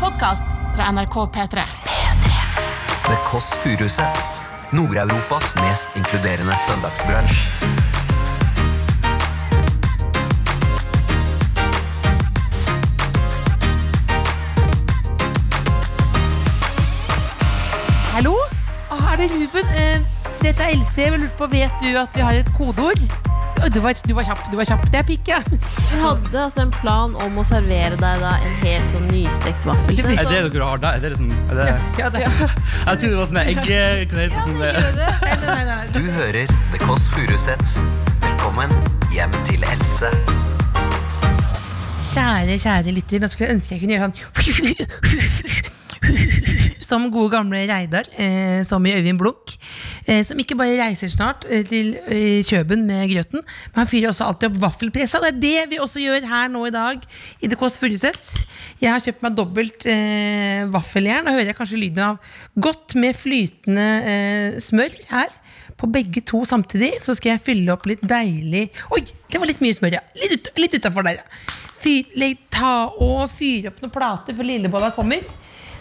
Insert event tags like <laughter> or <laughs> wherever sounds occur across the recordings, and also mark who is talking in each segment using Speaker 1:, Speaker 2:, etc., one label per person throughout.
Speaker 1: podkast fra NRK P3.
Speaker 2: The Kåss Furuseths. Nord-Europas mest inkluderende søndagsbransj.
Speaker 3: Hallo?
Speaker 4: Ah, Er det Ruben? Eh, dette er Else. Jeg lurte på, Vet du at vi har et kodeord? Å, Du var, du var kjapp. du var kjapp Det er pikk, ja.
Speaker 3: Vi hadde altså en plan om å servere deg da en helt sånn nystekt vaffel.
Speaker 4: Det blir
Speaker 5: Er det dere har der? Er det liksom, er det,
Speaker 4: ja det, nei,
Speaker 5: jeg trodde det var sånn egg... Kan det hete sånn, eh,
Speaker 4: nei, nei,
Speaker 2: Du hører The Kåss Furuseths. Velkommen hjem til Else.
Speaker 4: Kjære, kjære lytter. Nå skulle jeg ønske jeg kunne gjøre sånn <laughs> Som gode gamle Reidar, eh, som i Øyvind Blunk. Eh, som ikke bare reiser snart eh, til eh, Kjøben med grøten, men han fyrer også alltid opp vaffelpressa. Det er det vi også gjør her nå i dag i The Kåss Furuseths. Jeg har kjøpt meg dobbelt eh, vaffeljern. Og hører jeg kanskje lyden av godt med flytende eh, smør her. På begge to samtidig så skal jeg fylle opp litt deilig Oi, det var litt mye smør, ja. Litt, ut, litt utafor der, ja. Fyr, legg, ta og fyre opp noen plater før lillebolla kommer.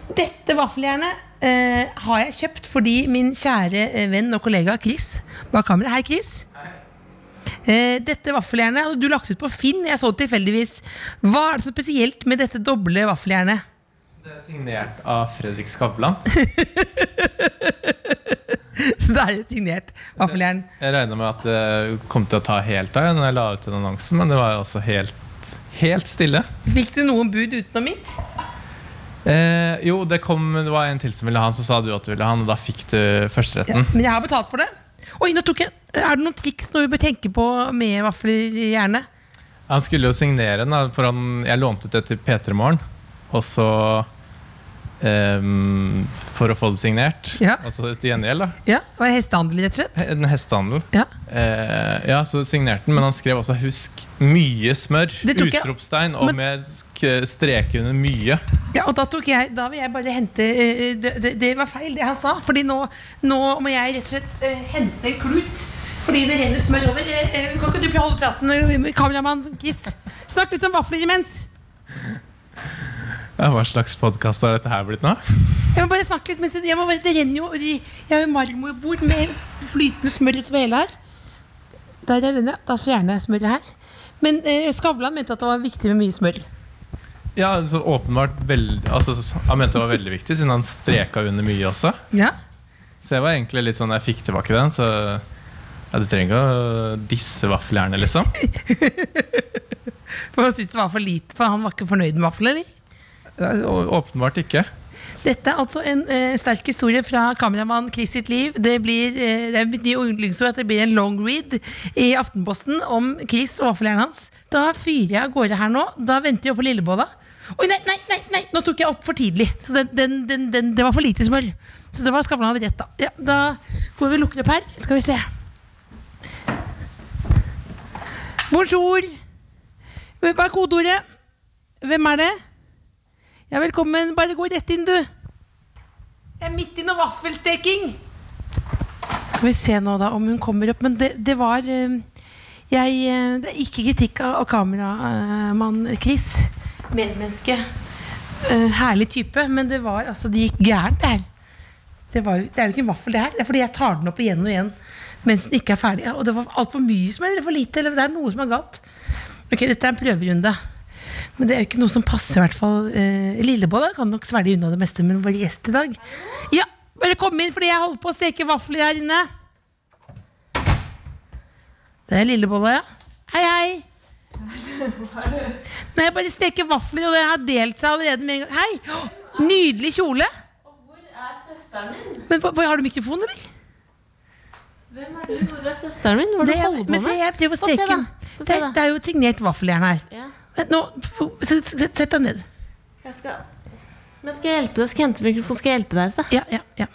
Speaker 4: Dette vaffeljernet eh, har jeg kjøpt fordi min kjære eh, venn og kollega Chris bak kameraet Hei, Chris. Eh, dette vaffeljernet hadde du lagt ut på Finn. Jeg så det tilfeldigvis. Hva er det så spesielt med dette doble vaffeljernet? <laughs>
Speaker 6: Det er signert av Fredrik Skavlan.
Speaker 4: Så det er et signert vaffeljern.
Speaker 6: Jeg regna med at det kom til å ta helt av når jeg la ut den annonsen, men det var jo altså helt, helt stille.
Speaker 4: Fikk du noen bud utenom mitt?
Speaker 6: Eh, jo, det, kom, det var en til som ville ha den, så sa du at du ville ha den, og da fikk du
Speaker 4: Ja,
Speaker 6: førsteretten.
Speaker 4: men jeg har betalt for det. Oi, nå tok jeg Er det noen triks når vi bør tenke på med vafler i hjernen?
Speaker 6: Han skulle jo signere den, da, for han, jeg lånte ut det til P3 Morgen, og så ehm, For å få det signert.
Speaker 4: Ja.
Speaker 6: Og så til gjengjeld, da.
Speaker 4: Ja, det var hestehandel, rett og slett.
Speaker 6: En hestehandel.
Speaker 4: Ja.
Speaker 6: Eh, ja, så signerte den, men han skrev også 'husk mye smør'.
Speaker 4: Det tok jeg-
Speaker 6: Utropstegn og
Speaker 4: Men-
Speaker 6: med sk- streke under 'mye'.
Speaker 4: Ja, og da, tok jeg, da vil jeg bare hente eh, det, det, det var feil, det han sa. Fordi nå, nå må jeg rett og slett eh, hente en klut. Fordi det renner smør over. Eh, eh, Kan ikke du holde praten, eh, kameramann Chris? Snakk litt om vafler imens.
Speaker 6: Ja, hva slags podkast har dette her blitt nå?
Speaker 4: Jeg må bare snakke litt mens jeg, jeg må bare, Det renner jo i- Jeg har jo marmorbord med flytende smør utover hele her. Der er denne. Da fjerner jeg smøret her. Men eh, Skavlan mente at det var viktig med mye smør.
Speaker 6: Ja, så åpenbart veldig altså, så- Han mente det var veldig viktig, siden han streka under mye også.
Speaker 4: Ja.
Speaker 6: Så jeg var egentlig litt sånn Jeg fikk tilbake den, så ja, Du trenger ikke å disse vaffeljernet,
Speaker 4: <laughs>
Speaker 6: liksom.
Speaker 4: For han syntes det var for lite, for han var ikke fornøyd med vafler. eller?
Speaker 6: Nei, å- Åpenbart ikke.
Speaker 4: Dette er altså en eh, sterk historie fra kameramann Chris sitt liv. Det blir, eh, det er mitt nye yndlingsord at det blir en long read i Aftenposten om Chris og vaffeljernet hans. Da fyrer jeg av gårde her nå. Da venter jeg på lillebolla. Oi, nei, nei, nei, nei, nå tok jeg opp for tidlig. Så den, den, den, den, det var for lite smør. Så det var Skavlan hadde rett, da. Ja, da går vi og lukker opp her. Skal vi se. Bonjour. Hva er kodeordet? Hvem er det? Ja, velkommen. Bare gå rett inn, du. Jeg er midt i noe vaffelsteking. Skal vi se nå, da, om hun kommer opp. Men det, det var eh, jeg, eh, Det er ikke kritikk av, av kameramann eh, Chris. Medmenneske. Eh, herlig type. Men det var altså Det gikk gærent, det her. Det, var, jo- det er jo ikke en vaffel, det her. Det er fordi jeg tar den opp igjen og igjen mens den ikke er ferdig. Og det var altfor mye som er eller for lite. Eller det er noe som er galt. Ok, dette er en prøverunde. Men det er jo ikke noe som passer, i hvert fall. Eh, Lillebolla kan nok svelge unna det meste, men vår gjest i dag Ja, bare kom inn, fordi jeg holder på å steke vafler her inne. Det er lillebolla, ja. Hei, hei. Nei, jeg bare steker vafler, og det har delt seg allerede med en gang. Hei! Nydelig kjole. Men hva- hva- Har du mikrofon, eller?
Speaker 3: Søsteren min, hva er
Speaker 4: Det,
Speaker 3: det du holder
Speaker 4: men
Speaker 3: på
Speaker 4: se,
Speaker 3: med?
Speaker 4: jeg prøver å
Speaker 3: Få se,
Speaker 4: steke
Speaker 3: da.
Speaker 4: den.
Speaker 3: Få
Speaker 4: Det,
Speaker 3: se, da.
Speaker 4: det er jo signert vaffeljern her.
Speaker 3: Ja.
Speaker 4: Vent, Nå, f- s- s- Sett deg ned.
Speaker 3: Jeg skal... Men skal jeg hjelpe deg? Skal jeg hente mikrofonen? Skal jeg hjelpe deg? altså? Else?
Speaker 4: Ja, ja,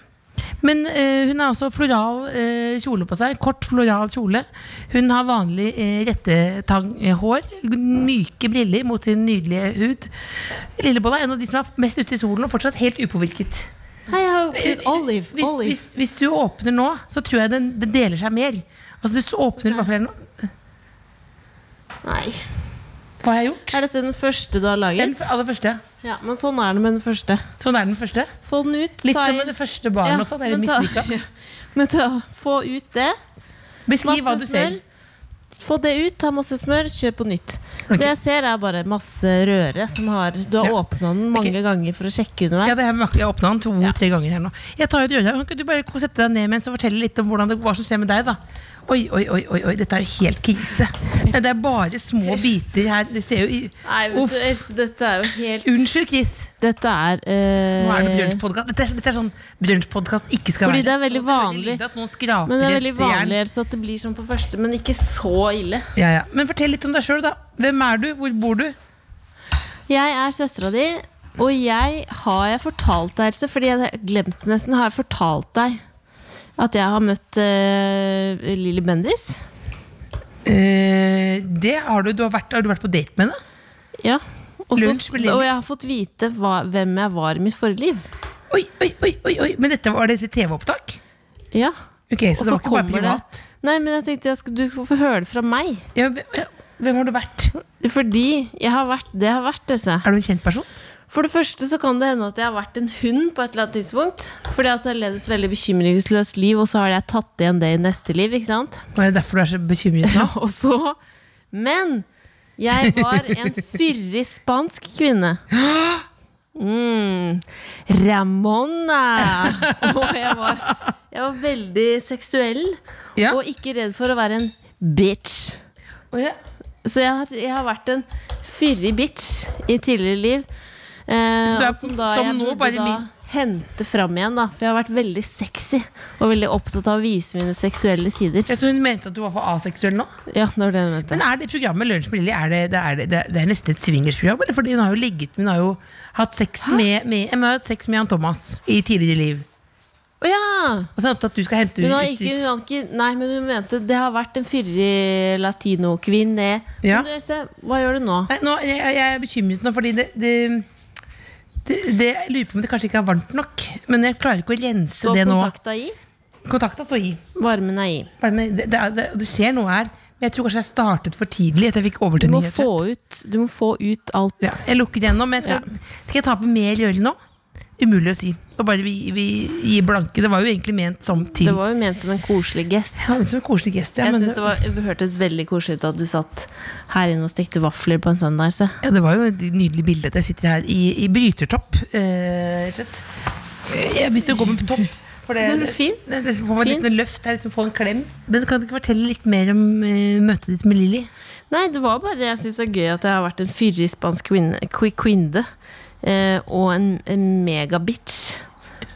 Speaker 4: ja. Men eh, hun har også floral eh, kjole på seg. Kort, floral kjole. Hun har vanlig eh, rettetanghår. Myke briller mot sin nydelige hud. Lillebolla er en av de som er mest ute i solen og fortsatt helt upåvirket.
Speaker 3: Hei, jeg har jo prøvd Olive.
Speaker 4: Eh, Hvis,
Speaker 3: Olive.
Speaker 4: hvis, hvis du åpner nå, så tror jeg den, den deler seg mer. Altså, du s- åpner i hvert fall nå.
Speaker 3: Nei.
Speaker 4: Hva har jeg gjort?
Speaker 3: Er dette den første du har
Speaker 4: Den
Speaker 3: laget?
Speaker 4: f- aller første.
Speaker 3: Ja, men sånn er det med den første.
Speaker 4: Sånn er den første.
Speaker 3: Få den ut.
Speaker 4: Litt
Speaker 3: ta
Speaker 4: som
Speaker 3: i-
Speaker 4: med det første sånn,
Speaker 3: <laughs>
Speaker 4: barnet
Speaker 3: Ja,
Speaker 4: også. Det er litt
Speaker 3: men ta-
Speaker 4: mislykka.
Speaker 3: Men ta, få ut det.
Speaker 4: Beskriv hva du ser.
Speaker 3: Få det ut, ta masse smør, kjør på nytt.
Speaker 4: Ok.
Speaker 3: Det jeg ser, er bare masse røre som har Du har
Speaker 4: Ja.
Speaker 3: åpna den mange
Speaker 4: Ok.
Speaker 3: ganger for å sjekke
Speaker 4: Ja,
Speaker 3: underveis.
Speaker 4: det her med Jeg åpna den to-tre ganger her nå. Jeg tar ut røret. Kan ikke du bare ko- sette deg ned mens og fortelle litt om hvordan det, hva som skjer med deg, da? Oi, oi, oi, oi, oi, dette er jo helt krise. Nei, Det er bare små biter her. Det ser jo i
Speaker 3: Nei,
Speaker 4: Uff.
Speaker 3: vet du, Else, dette er jo helt
Speaker 4: Unnskyld, Chris.
Speaker 3: Dette er eh,
Speaker 4: Nå er det Bjørnspodkast. Dette, er- dette er sånn Bjørnspodkast ikke skal
Speaker 3: Fordi
Speaker 4: være.
Speaker 3: det er veldig
Speaker 4: Og er veldig
Speaker 3: vanlig.
Speaker 4: lydende at noen skraper
Speaker 3: Men det er veldig
Speaker 4: et jern.
Speaker 3: vanlig Else, at det blir sånn på første, men ikke så ille.
Speaker 4: Ja, ja. Men fortell litt om deg sjøl, da. Hvem er du? Hvor bor du?
Speaker 3: Jeg er søstera di, og jeg har jeg fortalt deg, Else, fordi jeg glemte nesten, har jeg fortalt deg at jeg har møtt uh, Lilly Bendriss?
Speaker 4: Eh, det har du. Du har vært, har du vært på date med henne?
Speaker 3: Ja. Og så-
Speaker 4: Lunsj med Lilly.
Speaker 3: og jeg har fått vite hva, hvem jeg var i mitt forrige liv.
Speaker 4: Oi, oi, oi, oi, oi. Men dette var dette TV-opptak?
Speaker 3: Ja.
Speaker 4: Ok, så,
Speaker 3: Og
Speaker 4: det
Speaker 3: så
Speaker 4: var ikke bare
Speaker 3: kommer det-
Speaker 4: privat?
Speaker 3: Nei, men jeg tenkte jeg skal, du får få høre det fra meg.
Speaker 4: Ja, hvem- ja, hvem har du vært?
Speaker 3: Fordi jeg har vært det jeg har vært. Else.
Speaker 4: Er du en kjent person?
Speaker 3: For det første så kan det hende at jeg har vært en hund på et eller annet tidspunkt. Fordi at jeg har levd et veldig bekymringsløst liv, og så har jeg tatt igjen det i neste liv. ikke sant?
Speaker 4: Og det er derfor du er så bekymret
Speaker 3: <laughs>
Speaker 4: nå?
Speaker 3: Og så, Men jeg var en fyrig spansk kvinne. Mm. Ramona! Og jeg var, jeg var veldig seksuell,
Speaker 4: Ja.
Speaker 3: og ikke redd for å være en bitch.
Speaker 4: <laughs> Å, ja.
Speaker 3: Så jeg har, jeg har vært en fyrig bitch i tidligere liv. Eh,
Speaker 4: Så du er
Speaker 3: og som da,
Speaker 4: som
Speaker 3: jeg
Speaker 4: nå
Speaker 3: burde
Speaker 4: bare
Speaker 3: da
Speaker 4: min-
Speaker 3: hente fram igjen, da. For jeg har vært veldig sexy og veldig opptatt av å vise mine seksuelle sider.
Speaker 4: Ja, så hun mente at du var for aseksuell nå?
Speaker 3: Ja, det var det jeg mente.
Speaker 4: Men er det programmet Lunsj med Lilly er det, det, er det, det er nesten et swingersprogram? Eller? Fordi hun har jo ligget Hun har jo hatt sex med, med, hun har hatt sex med Jan Thomas i tidligere liv.
Speaker 3: Å ja!
Speaker 4: Og så er hun opptatt av at du skal hente
Speaker 3: Hun har
Speaker 4: ut-
Speaker 3: ikke, hun har ikke Nei, men hun mente det har vært en fyrig latinokvinne.
Speaker 4: Ja.
Speaker 3: Men du, Else, hva gjør du nå?
Speaker 4: Nei, nå, jeg, jeg er bekymret nå, fordi det, det, det, det Jeg lurer på om det kanskje ikke er varmt nok. Men jeg klarer ikke å rense
Speaker 3: Gå
Speaker 4: det nå.
Speaker 3: kontakta i?
Speaker 4: Kontakta står i.
Speaker 3: Varmen er i.
Speaker 4: Bare med- Det, det, er- det, det skjer noe her. Men jeg tror kanskje jeg startet for tidlig. At jeg fikk
Speaker 3: Du må
Speaker 4: overtenning. rett
Speaker 3: få
Speaker 4: og slett.
Speaker 3: ut, du må få ut alt.
Speaker 4: Ja, jeg lukker igjennom. Men jeg skal, skal jeg ta på mer rødlig nå? Umulig å si. Og bare vi, vi gir blanke. Det var jo egentlig ment som til.
Speaker 3: Det var jo ment som en koselig gest.
Speaker 4: Ja, men som en koselig gest. Ja,
Speaker 3: jeg
Speaker 4: men
Speaker 3: synes det, var, det hørtes veldig koselig ut at du satt her inne og stekte vafler på en søndag. Se.
Speaker 4: Ja, det var jo et nydelig bilde at jeg sitter her i, i brytertopp. eh, rett og slett. jeg begynte å gå med topp. For det,
Speaker 3: Men fin.
Speaker 4: Det, det, det får man litt
Speaker 3: Fin.
Speaker 4: løft her, liksom få en klem. Men kan du ikke fortelle litt mer om eh, møtet ditt med Lilly?
Speaker 3: Nei, det var bare det jeg syns er gøy at jeg har vært en fyrig spansk kvinne, qui- kvinne eh, og en, en megabitch.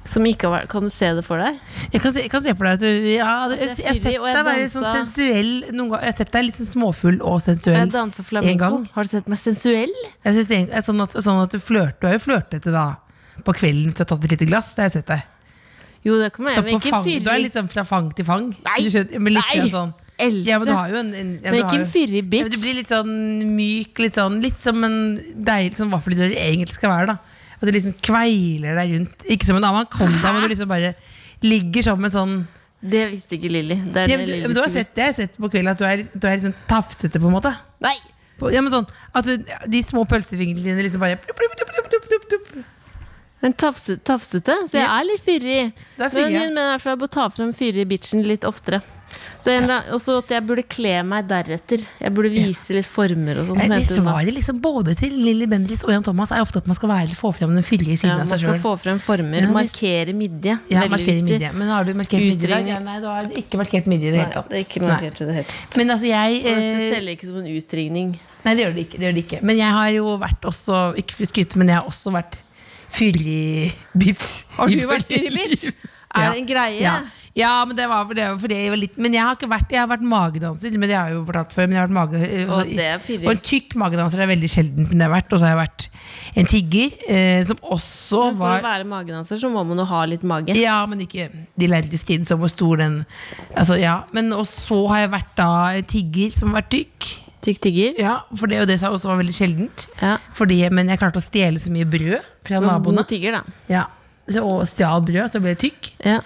Speaker 3: Som ikke har vært Kan du se det for deg?
Speaker 4: Jeg kan, se, jeg kan se for deg at du ja, det, jeg,
Speaker 3: At jeg
Speaker 4: jeg har
Speaker 3: er fyrig,
Speaker 4: sett
Speaker 3: og jeg
Speaker 4: deg være litt sånn
Speaker 3: dansa.
Speaker 4: sensuell noen gang. Jeg har sett deg litt sånn småfull og sensuell.
Speaker 3: Jeg danser
Speaker 4: en
Speaker 3: flamenco.
Speaker 4: gang.
Speaker 3: Har du sett meg sensuell?
Speaker 4: Jeg synes egentlig- sånn, at, sånn at du flørter. Du er jo flørtete da. På kvelden hvis du har tatt et lite glass. Det har jeg sett deg.
Speaker 3: Jo, det kan man
Speaker 4: Så
Speaker 3: gjøre, men
Speaker 4: på
Speaker 3: ikke
Speaker 4: fang, du er
Speaker 3: fyrig.
Speaker 4: litt sånn fra fang til fang.
Speaker 3: Nei,
Speaker 4: Du skjønner, men litt
Speaker 3: nei.
Speaker 4: grann sånn.
Speaker 3: Else.
Speaker 4: Ja, men du har jo en, en ja,
Speaker 3: men
Speaker 4: du har
Speaker 3: ikke en
Speaker 4: jo-
Speaker 3: fyrig
Speaker 4: Ja, men
Speaker 3: bitch.
Speaker 4: du blir litt sånn myk, litt sånn Litt som en deilig sånn vaffeldør egentlig skal være. da At du liksom kveiler deg rundt. Ikke som en anakonda, men du liksom bare ligger som en sånn
Speaker 3: Det visste ikke Lilly. Det er
Speaker 4: ja,
Speaker 3: det
Speaker 4: men du,
Speaker 3: Lilly
Speaker 4: men du har
Speaker 3: skulle
Speaker 4: sett det jeg har sett på kvelden, at du er, litt- du er litt sånn tafsete, på en måte.
Speaker 3: visst. Nei!
Speaker 4: På- Ja, men sånn At du, de små pølsefingrene dine liksom bare plup, plup, plup, plup, plup, plup, plup.
Speaker 3: Men tafse, tafsete, så jeg
Speaker 4: Ja.
Speaker 3: er litt fyrig.
Speaker 4: Du er fyrig,
Speaker 3: men
Speaker 4: ja.
Speaker 3: hun mener i hvert fall jeg bør ta frem fyrig bitchen litt oftere. Så en eller annen- også at jeg burde kle meg deretter. Jeg burde vise litt former og sånn.
Speaker 4: Nei, De
Speaker 3: mente hun da.
Speaker 4: svarer liksom både til Lilly Bendriss og Jan Thomas er ofte at man skal være, få frem den fyldige
Speaker 3: ja,
Speaker 4: siden av
Speaker 3: man
Speaker 4: seg
Speaker 3: skal
Speaker 4: sjøl.
Speaker 3: få frem former,
Speaker 4: altså, Ja, visst.
Speaker 3: markere midje.
Speaker 4: Ja,
Speaker 3: Veldig
Speaker 4: markere
Speaker 3: viktig.
Speaker 4: midje. Men har du markert midje i dag?
Speaker 3: Utringning.
Speaker 4: Ja, Nei, du har ikke markert midje i det
Speaker 3: Nei,
Speaker 4: hele tatt.
Speaker 3: det er ikke
Speaker 4: Nei.
Speaker 3: markert i det hele tatt.
Speaker 4: Men altså, jeg
Speaker 3: Og Dette
Speaker 4: eh,
Speaker 3: teller ikke som en utringning.
Speaker 4: Nei, det gjør det ikke. Det gjør det ikke. Men jeg har jo vært også Ikke for å skryte, men jeg har også vært fyrig bitch.
Speaker 3: Har
Speaker 4: i
Speaker 3: du vært
Speaker 4: forrige
Speaker 3: fyrig bitch?
Speaker 4: liv.
Speaker 3: Er
Speaker 4: Ja.
Speaker 3: det en greie?
Speaker 4: Ja, ja men det var, det var fordi jeg var litt Men jeg har ikke vært Jeg har vært magedanser, men det har jeg jo fortalt før. Men jeg har vært mage, eh,
Speaker 3: Og
Speaker 4: også-
Speaker 3: det er fyrig.
Speaker 4: og en tykk magedanser er veldig sjeldent den jeg har vært. Og så har jeg vært en tigger, eh, som også
Speaker 3: Men for
Speaker 4: var
Speaker 3: å være magedanser så må man jo ha litt mage.
Speaker 4: ja, men ikke De lærde Kids om hvor stor den altså, ja. Men Og så har jeg vært da en tigger som har vært tykk.
Speaker 3: Tykk tigger.
Speaker 4: Ja, for det og det sa også var veldig sjeldent.
Speaker 3: Ja.
Speaker 4: Fordi, men jeg klarte å stjele så mye brød fra
Speaker 3: Og
Speaker 4: naboene.
Speaker 3: God tigger, da.
Speaker 4: Ja. Så, og stjal brød, så ble jeg tykk.
Speaker 3: Ja.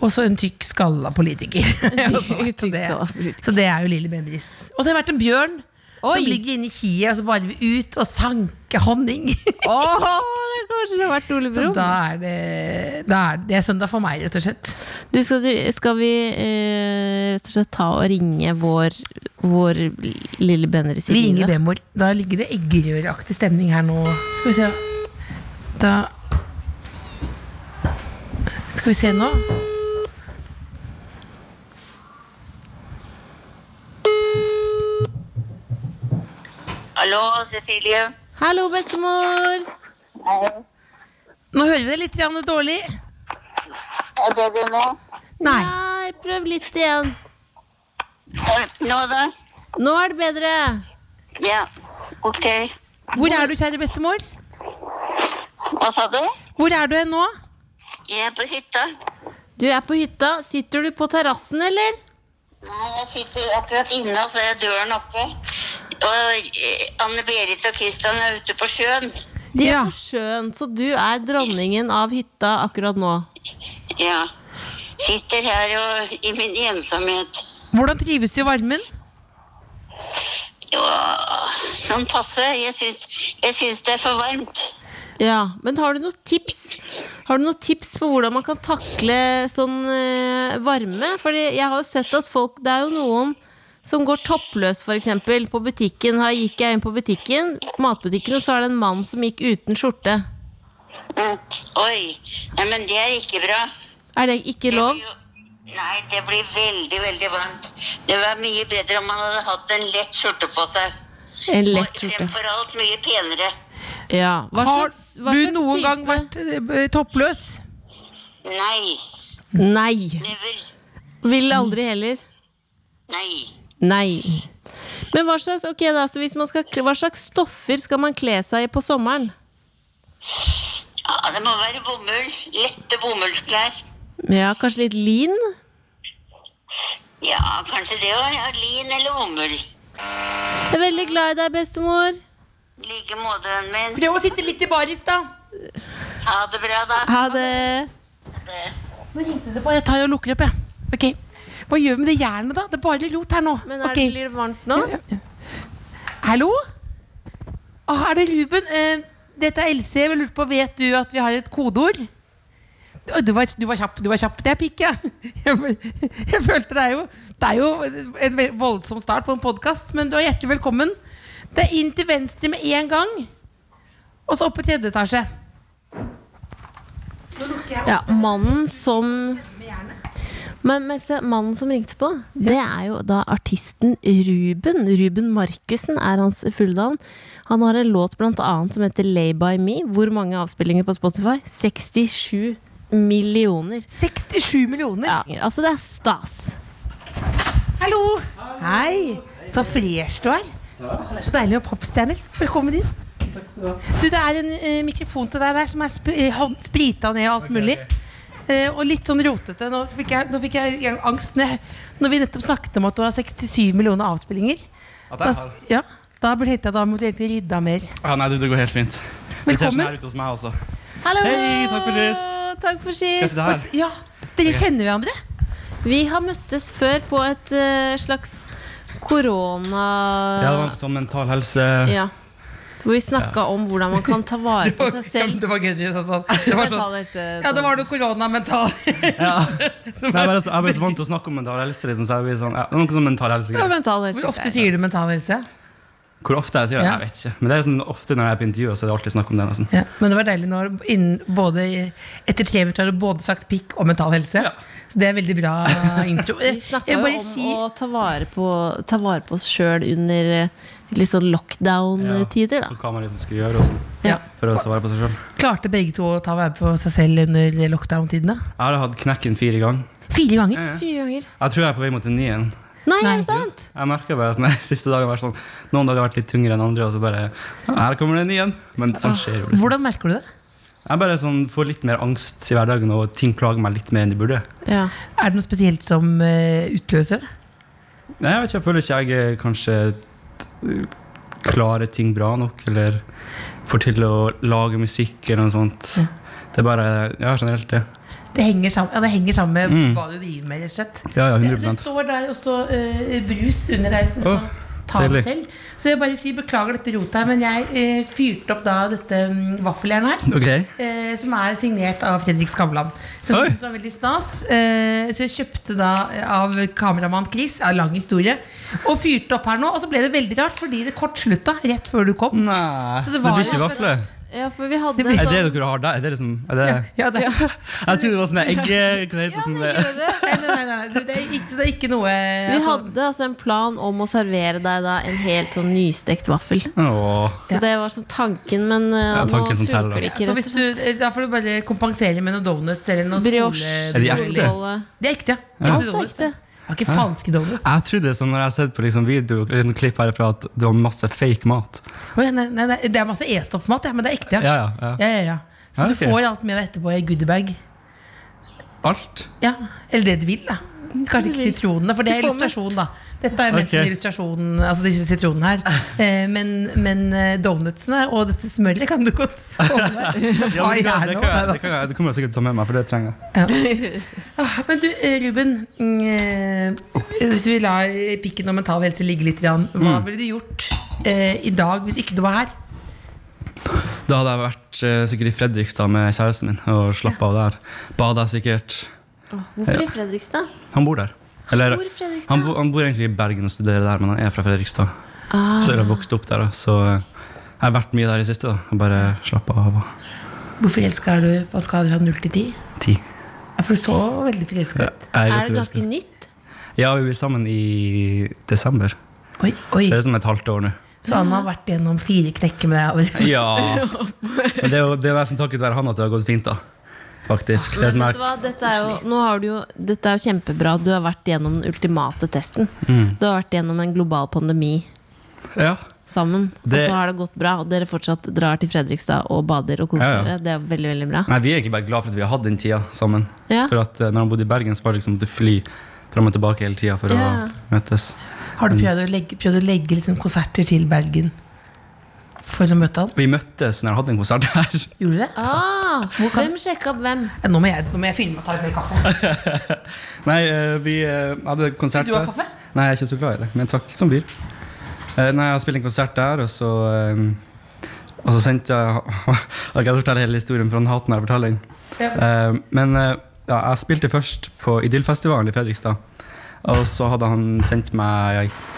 Speaker 4: Og så en tykk
Speaker 3: <laughs>
Speaker 4: skalla politiker. <laughs> Og så-
Speaker 3: Tykk
Speaker 4: så, det,
Speaker 3: skalla politiker.
Speaker 4: så det er jo Lilly Bendriss. Og så har jeg vært en bjørn.
Speaker 3: Oi.
Speaker 4: som ligger inni kiet, og så bare vil ut og sanke honning. <laughs>
Speaker 3: Åh, det kanskje det har vært Ole
Speaker 4: Så
Speaker 3: Brumm.
Speaker 4: da er det, da er det, det er søndag for meg, rett og slett.
Speaker 3: Du, skal, du- skal vi eh, rett og slett ta og ringe vår, vår lille Benris i
Speaker 4: Vi ringer
Speaker 3: livet?
Speaker 4: bemol. Da ligger det eggerøraktig stemning her nå. Skal vi se. Da Skal vi se nå.
Speaker 7: Hallo, Cecilie.
Speaker 3: Hallo, bestemor!
Speaker 4: Nå hører vi det litt grann dårlig.
Speaker 7: Er det du nå?
Speaker 4: Nei.
Speaker 3: Nei, prøv litt igjen.
Speaker 7: Oi, Nå Eh, da?
Speaker 3: Nå er det bedre.
Speaker 7: Ja, ok.
Speaker 4: Hvor er du, kjære bestemor?
Speaker 7: Hva sa du?
Speaker 4: Hvor er du hen nå?
Speaker 7: Jeg er på hytta.
Speaker 3: Du er på hytta. Sitter du på terrassen, eller?
Speaker 7: Nei, jeg sitter akkurat inne, og så er døren oppe. Og eh, Anne-Berit og Kristian er ute på sjøen.
Speaker 3: De er
Speaker 4: Ja.
Speaker 3: på sjøen, så du er dronningen av hytta akkurat nå.
Speaker 7: Ja. Sitter her og, i min ensomhet.
Speaker 4: Hvordan trives du i varmen?
Speaker 7: Jo, sånn passe. Jeg syns, jeg syns det er for varmt.
Speaker 3: Ja, Men har du noen tips Har du noen tips på hvordan man kan takle sånn eh, varme? Fordi jeg har jo sett at folk Det er jo noen som går toppløs, f.eks. På butikken. Her gikk jeg inn på butikken, matbutikken, og så er det en mann som gikk uten skjorte.
Speaker 7: Mm. Oi. Nei, men det er ikke bra.
Speaker 3: Er det ikke
Speaker 7: Det
Speaker 3: lov?
Speaker 7: blir jo- Nei, det blir veldig, veldig varmt. Det var mye bedre om man hadde hatt en lett skjorte på seg.
Speaker 3: En
Speaker 7: Og
Speaker 3: lett skjorte.
Speaker 7: fremfor alt mye penere.
Speaker 3: Ja. Hva
Speaker 4: Har
Speaker 3: slags- hva
Speaker 4: du
Speaker 3: slags
Speaker 4: noen
Speaker 3: type-
Speaker 4: gang vært eh, toppløs?
Speaker 7: Nei.
Speaker 3: Nei.
Speaker 7: Never.
Speaker 3: Vil aldri heller.
Speaker 7: Nei.
Speaker 3: Nei. Men hva slags, ok da, så hvis man skal, kle- hva slags stoffer skal man kle seg i på sommeren?
Speaker 7: Ja, det må være bomull. Lette bomullsklær.
Speaker 3: Ja, kanskje litt lin?
Speaker 7: Ja, kanskje det òg. Ja, lin eller bomull.
Speaker 3: Jeg er veldig glad i deg, bestemor.
Speaker 7: I like måte, vennen min.
Speaker 4: Prøv å sitte litt i baris, da.
Speaker 7: Ha det bra, da.
Speaker 3: Ha det.
Speaker 4: Jeg tar og lukker opp, jeg. Ok. Hva gjør vi med det jernet, da? Det er bare rot her nå.
Speaker 3: Men er
Speaker 4: Ok.
Speaker 3: det, blir det varmt nå?
Speaker 4: Hallo? Ah, er det Ruben? Eh, dette er Else. Jeg lurte på, Vet du at vi har et kodeord? Å, Du var, du var kjapp. du var kjapp Det er pikk, ja. <laughs> Jeg, jeg følte det er jo Det er jo en vel- voldsom start på en podkast, men du er hjertelig velkommen. Det er inn til venstre med en gang, og så opp i tredje etasje.
Speaker 3: Ja, mannen som men Merce, mannen som ringte på, det er jo da artisten Ruben. Ruben Markussen er hans fulle navn. Han har en låt blant annet som heter 'Lay By Me'. Hvor mange avspillinger på Spotify? 67 millioner.
Speaker 4: 67 millioner.
Speaker 3: Ja, altså det er stas.
Speaker 4: Hallo. Hei. Så fresh du er. Åh, Det er så deilig med popstjerner. Velkommen inn. Du, Det er en eh, mikrofon til deg der som er sp eh, hånd- sprita ned og alt mulig. Eh, og litt sånn rotete. Nå fikk jeg, nå fikk jeg angst når, jeg, når vi nettopp snakket om at du har 67 millioner avspillinger.
Speaker 5: At
Speaker 4: Da,
Speaker 5: jeg
Speaker 4: s-
Speaker 5: har-
Speaker 4: ja, da ble- tenkte jeg da måtte du egentlig rydda mer.
Speaker 5: Ah, nei, du, det går helt fint. Det ser
Speaker 4: Velkommen.
Speaker 5: sånn her ut hos meg også.
Speaker 3: Hallo!
Speaker 5: Hei, takk for sist.
Speaker 3: Takk for
Speaker 5: Skal jeg
Speaker 3: sist.
Speaker 5: sitte her?
Speaker 4: Ja, Dere kjenner hverandre?
Speaker 3: Vi har møttes før på et eh, slags
Speaker 5: Ja, det var
Speaker 3: korona...
Speaker 5: en sånn mental helse...
Speaker 3: Ah. Ja. Hvor vi snakka om hvordan man kan ta vare på
Speaker 5: <laughs>
Speaker 3: seg selv.
Speaker 4: Det var gøy.
Speaker 5: altså.
Speaker 4: Sånn. Det <laughs> var sånn. Ja, det var noe
Speaker 5: <laughs>
Speaker 4: koronamental. <laughs>
Speaker 5: Nei, altså, jeg, er bare så, jeg er bare så vant til å snakke om mental helse, liksom, så jeg blir sånn, ja, det er noe sånn mental helse-greier.
Speaker 3: mental
Speaker 4: Hvor ofte
Speaker 3: helse.
Speaker 4: sier du mental helse?
Speaker 5: Hvor ofte jeg sier det,
Speaker 4: Ja.
Speaker 5: jeg vet ikke. Men det er sånn, ofte når jeg er på intervjuer, så er det alltid snakk om det, nesten.
Speaker 4: Ja, men det var deilig når innen, både, etter tre minutter har du både sagt pikk og mental helse.
Speaker 5: Ja.
Speaker 4: Så det er
Speaker 3: <laughs>
Speaker 4: veldig bra intro.
Speaker 3: Vi snakka jo om å ta vare på, ta vare på oss sjøl under eh, litt sånn lockdown-tider,
Speaker 5: Og
Speaker 3: da.
Speaker 5: hva man liksom skal gjøre og sånn,
Speaker 4: ja,
Speaker 5: for å ta vare på seg selv.
Speaker 4: Klarte begge to å ta vare på seg selv under lockdown-tidene?
Speaker 5: Jeg har hatt knekken fire ganger.
Speaker 4: Fire ganger.
Speaker 3: Fire ganger.
Speaker 5: Jeg tror jeg er på vei mot en nien.
Speaker 3: Nei,
Speaker 4: Nei.
Speaker 3: er det sant?
Speaker 5: Jeg merker bare sånn, <laughs> de siste dagen vært sånn, noen dager har vært litt tyngre enn andre, og så bare, ja, her kommer det en nien. Men sånn skjer jo. Liksom.
Speaker 4: Hvordan merker du det?
Speaker 5: Jeg bare sånn, får litt mer angst i hverdagen, og ting plager meg litt mer enn de burde.
Speaker 3: Ja.
Speaker 4: Er det noe spesielt som eh, utløser det?
Speaker 5: Nei, jeg vet ikke, jeg føler ikke jeg eh, kanskje eh, klarer ting bra nok, eller får til å lage musikk eller noe sånt. Det er bare Ja, generelt det.
Speaker 4: Det henger sammen, ja, det henger sammen med
Speaker 5: Mm.
Speaker 4: hva du driver med, rett og slett.
Speaker 5: Ja, ja,
Speaker 4: Det, det
Speaker 5: 100
Speaker 4: står der også eh, brus under deg som du
Speaker 5: Åh,
Speaker 4: kan ta
Speaker 5: deilig.
Speaker 4: selv. Så jeg bare sier beklager dette rotet her, men jeg eh, fyrte opp da dette mm, vaffeljernet her.
Speaker 5: Ok.
Speaker 4: Eh, som er signert av Fredrik Skavlan. Som
Speaker 5: Oi.
Speaker 4: jeg syntes var veldig stas. Eh, så jeg kjøpte da eh, av kameramann Chris, ja, lang historie, og fyrte opp her nå. Og så ble det veldig rart, fordi det kortslutta rett før du kom.
Speaker 5: Nei,
Speaker 4: Så
Speaker 5: så
Speaker 4: det
Speaker 5: det,
Speaker 4: var
Speaker 5: blir ikke
Speaker 4: jo
Speaker 5: vafler?
Speaker 3: Ja, for vi hadde
Speaker 4: Det blir-
Speaker 5: Er
Speaker 3: sånn
Speaker 5: det dere har der? Er det liksom er det,
Speaker 4: Ja, det,
Speaker 5: Jeg trodde det var sånne eggekneiser som
Speaker 4: Nei, nei, nei, nei, det, er ikke, det er ikke noe
Speaker 3: Vi
Speaker 4: altså,
Speaker 3: hadde altså en plan om å servere deg da en helt sånn nystekt vaffel.
Speaker 5: Åh,
Speaker 3: Så
Speaker 4: Ja.
Speaker 3: det var sånn tanken, men eh,
Speaker 5: Ja, tanken
Speaker 3: nå
Speaker 5: som teller,
Speaker 3: funker det
Speaker 5: da.
Speaker 3: ikke.
Speaker 4: Så hvis du, eh, da får du bare kompensere med noen donuts eller noe
Speaker 3: Brioche.
Speaker 5: Er de ekte?
Speaker 4: skolebolle. Det er ekte, ja.
Speaker 3: Ja.
Speaker 4: Ekte donuts.
Speaker 3: Alt er ekte.
Speaker 4: Jeg har ikke falske donuts.
Speaker 5: Jeg trodde sånn når jeg har sett på liksom video eller noen klipp herfra at det var masse fake mat.
Speaker 4: Å, ja, Nei, nei, nei, det er masse E-stoffmat, ja, men det er
Speaker 5: Ja,
Speaker 4: ekte.
Speaker 5: ja, ja.
Speaker 4: Ja, ja, ja. Så
Speaker 5: Ja,
Speaker 4: du
Speaker 5: ok.
Speaker 4: får alt med deg etterpå i goodiebag.
Speaker 5: Alt.
Speaker 4: Ja. Eller det du vil, da. Kanskje ikke sitronene, for det er
Speaker 3: Du får med-
Speaker 4: illustrasjon, da. Dette er ment som
Speaker 5: Ok.
Speaker 4: illustrasjon, altså disse sitronene her. Eh, men, men eh, donutsene og dette smøret kan du
Speaker 5: <laughs>
Speaker 4: godt holde deg.
Speaker 5: Ja,
Speaker 4: Ta
Speaker 5: men
Speaker 4: i
Speaker 5: det, kan,
Speaker 4: her
Speaker 5: det,
Speaker 4: nå.
Speaker 5: kan, jeg-
Speaker 4: Neida.
Speaker 5: det, kan, jeg- det kommer jeg sikkert til å ta med meg, for det trenger jeg.
Speaker 4: Ah, Men du, eh, Ruben. mm, eh, Hvis vi lar eh, pikken og mental helse ligge litt, grann, hva
Speaker 5: Mm.
Speaker 4: ville du gjort eh, i dag hvis ikke du var her?
Speaker 5: Da hadde jeg vært eh, sikkert i Fredrikstad med kjæresten min og slappa av der. Bada sikkert.
Speaker 3: Hvorfor i Fredrikstad?
Speaker 5: Han bor der. Eller,
Speaker 3: Hvor i Fredrikstad?
Speaker 5: han, bo, han bor egentlig i Bergen og studerer der, men han er fra Fredrikstad. Så jeg har vokst opp der, da. Så eh, jeg har vært mye der i siste. da og Bare slappa av. og
Speaker 4: Hvor forelska er du på en skala fra 0 til 10?
Speaker 5: Ti.
Speaker 4: Ja, For du så veldig forelska ut.
Speaker 5: Jeg
Speaker 3: Er
Speaker 5: ganske
Speaker 3: det ganske
Speaker 5: forelsket.
Speaker 3: nytt?
Speaker 5: Ja, vi blir sammen i desember.
Speaker 4: Oi, oi.
Speaker 5: Det er som et halvt år nå.
Speaker 4: Så han har vært gjennom fire knekker med deg allerede.
Speaker 5: Ja. Men det er jo det er nesten takket være han at det har gått fint, da. Faktisk. Det
Speaker 3: Men
Speaker 5: er sånn
Speaker 3: vet
Speaker 5: her-
Speaker 3: du hva, dette er jo, nå har du jo, dette er jo kjempebra. Du har vært gjennom den ultimate testen.
Speaker 5: Mm.
Speaker 3: Du har vært gjennom en global pandemi
Speaker 5: ja.
Speaker 3: sammen.
Speaker 5: Det-
Speaker 3: Og så har det gått bra, og dere fortsatt drar til Fredrikstad og bader og koser
Speaker 5: Ja, ja.
Speaker 3: dere. Det er veldig, veldig bra.
Speaker 5: Nei, Vi er egentlig bare glad for at vi har hatt den tida sammen.
Speaker 3: Ja.
Speaker 5: For at eh, når han bodde i Bergen, så var det liksom til fly fram og tilbake hele tida for
Speaker 3: Ja.
Speaker 5: å møtes.
Speaker 4: Har du prøvd å legge, prøvd å legge liksom konserter til Bergen for å møte han?
Speaker 5: Vi møttes når jeg hadde en konsert her. <laughs>
Speaker 4: Gjorde du det?
Speaker 3: Ah, hvem sjekka opp hvem?
Speaker 4: Ja, nå må jeg, nå må jeg filme og ta litt mer kaffe.
Speaker 5: Nei, eh, vi eh, hadde konsert
Speaker 4: Vil du ha
Speaker 5: der.
Speaker 4: kaffe?
Speaker 5: Nei, jeg er ikke så glad i det, men takk som blir. Eh, Nei, jeg har spilt en konsert der, og så eh, Og så sendte jeg <laughs> Jeg kan fortelle hele historien, for han hater når jeg forteller den. Eh, Men eh, ja, jeg spilte først på Idyllfestivalen i Fredrikstad, og så hadde han sendt meg eh,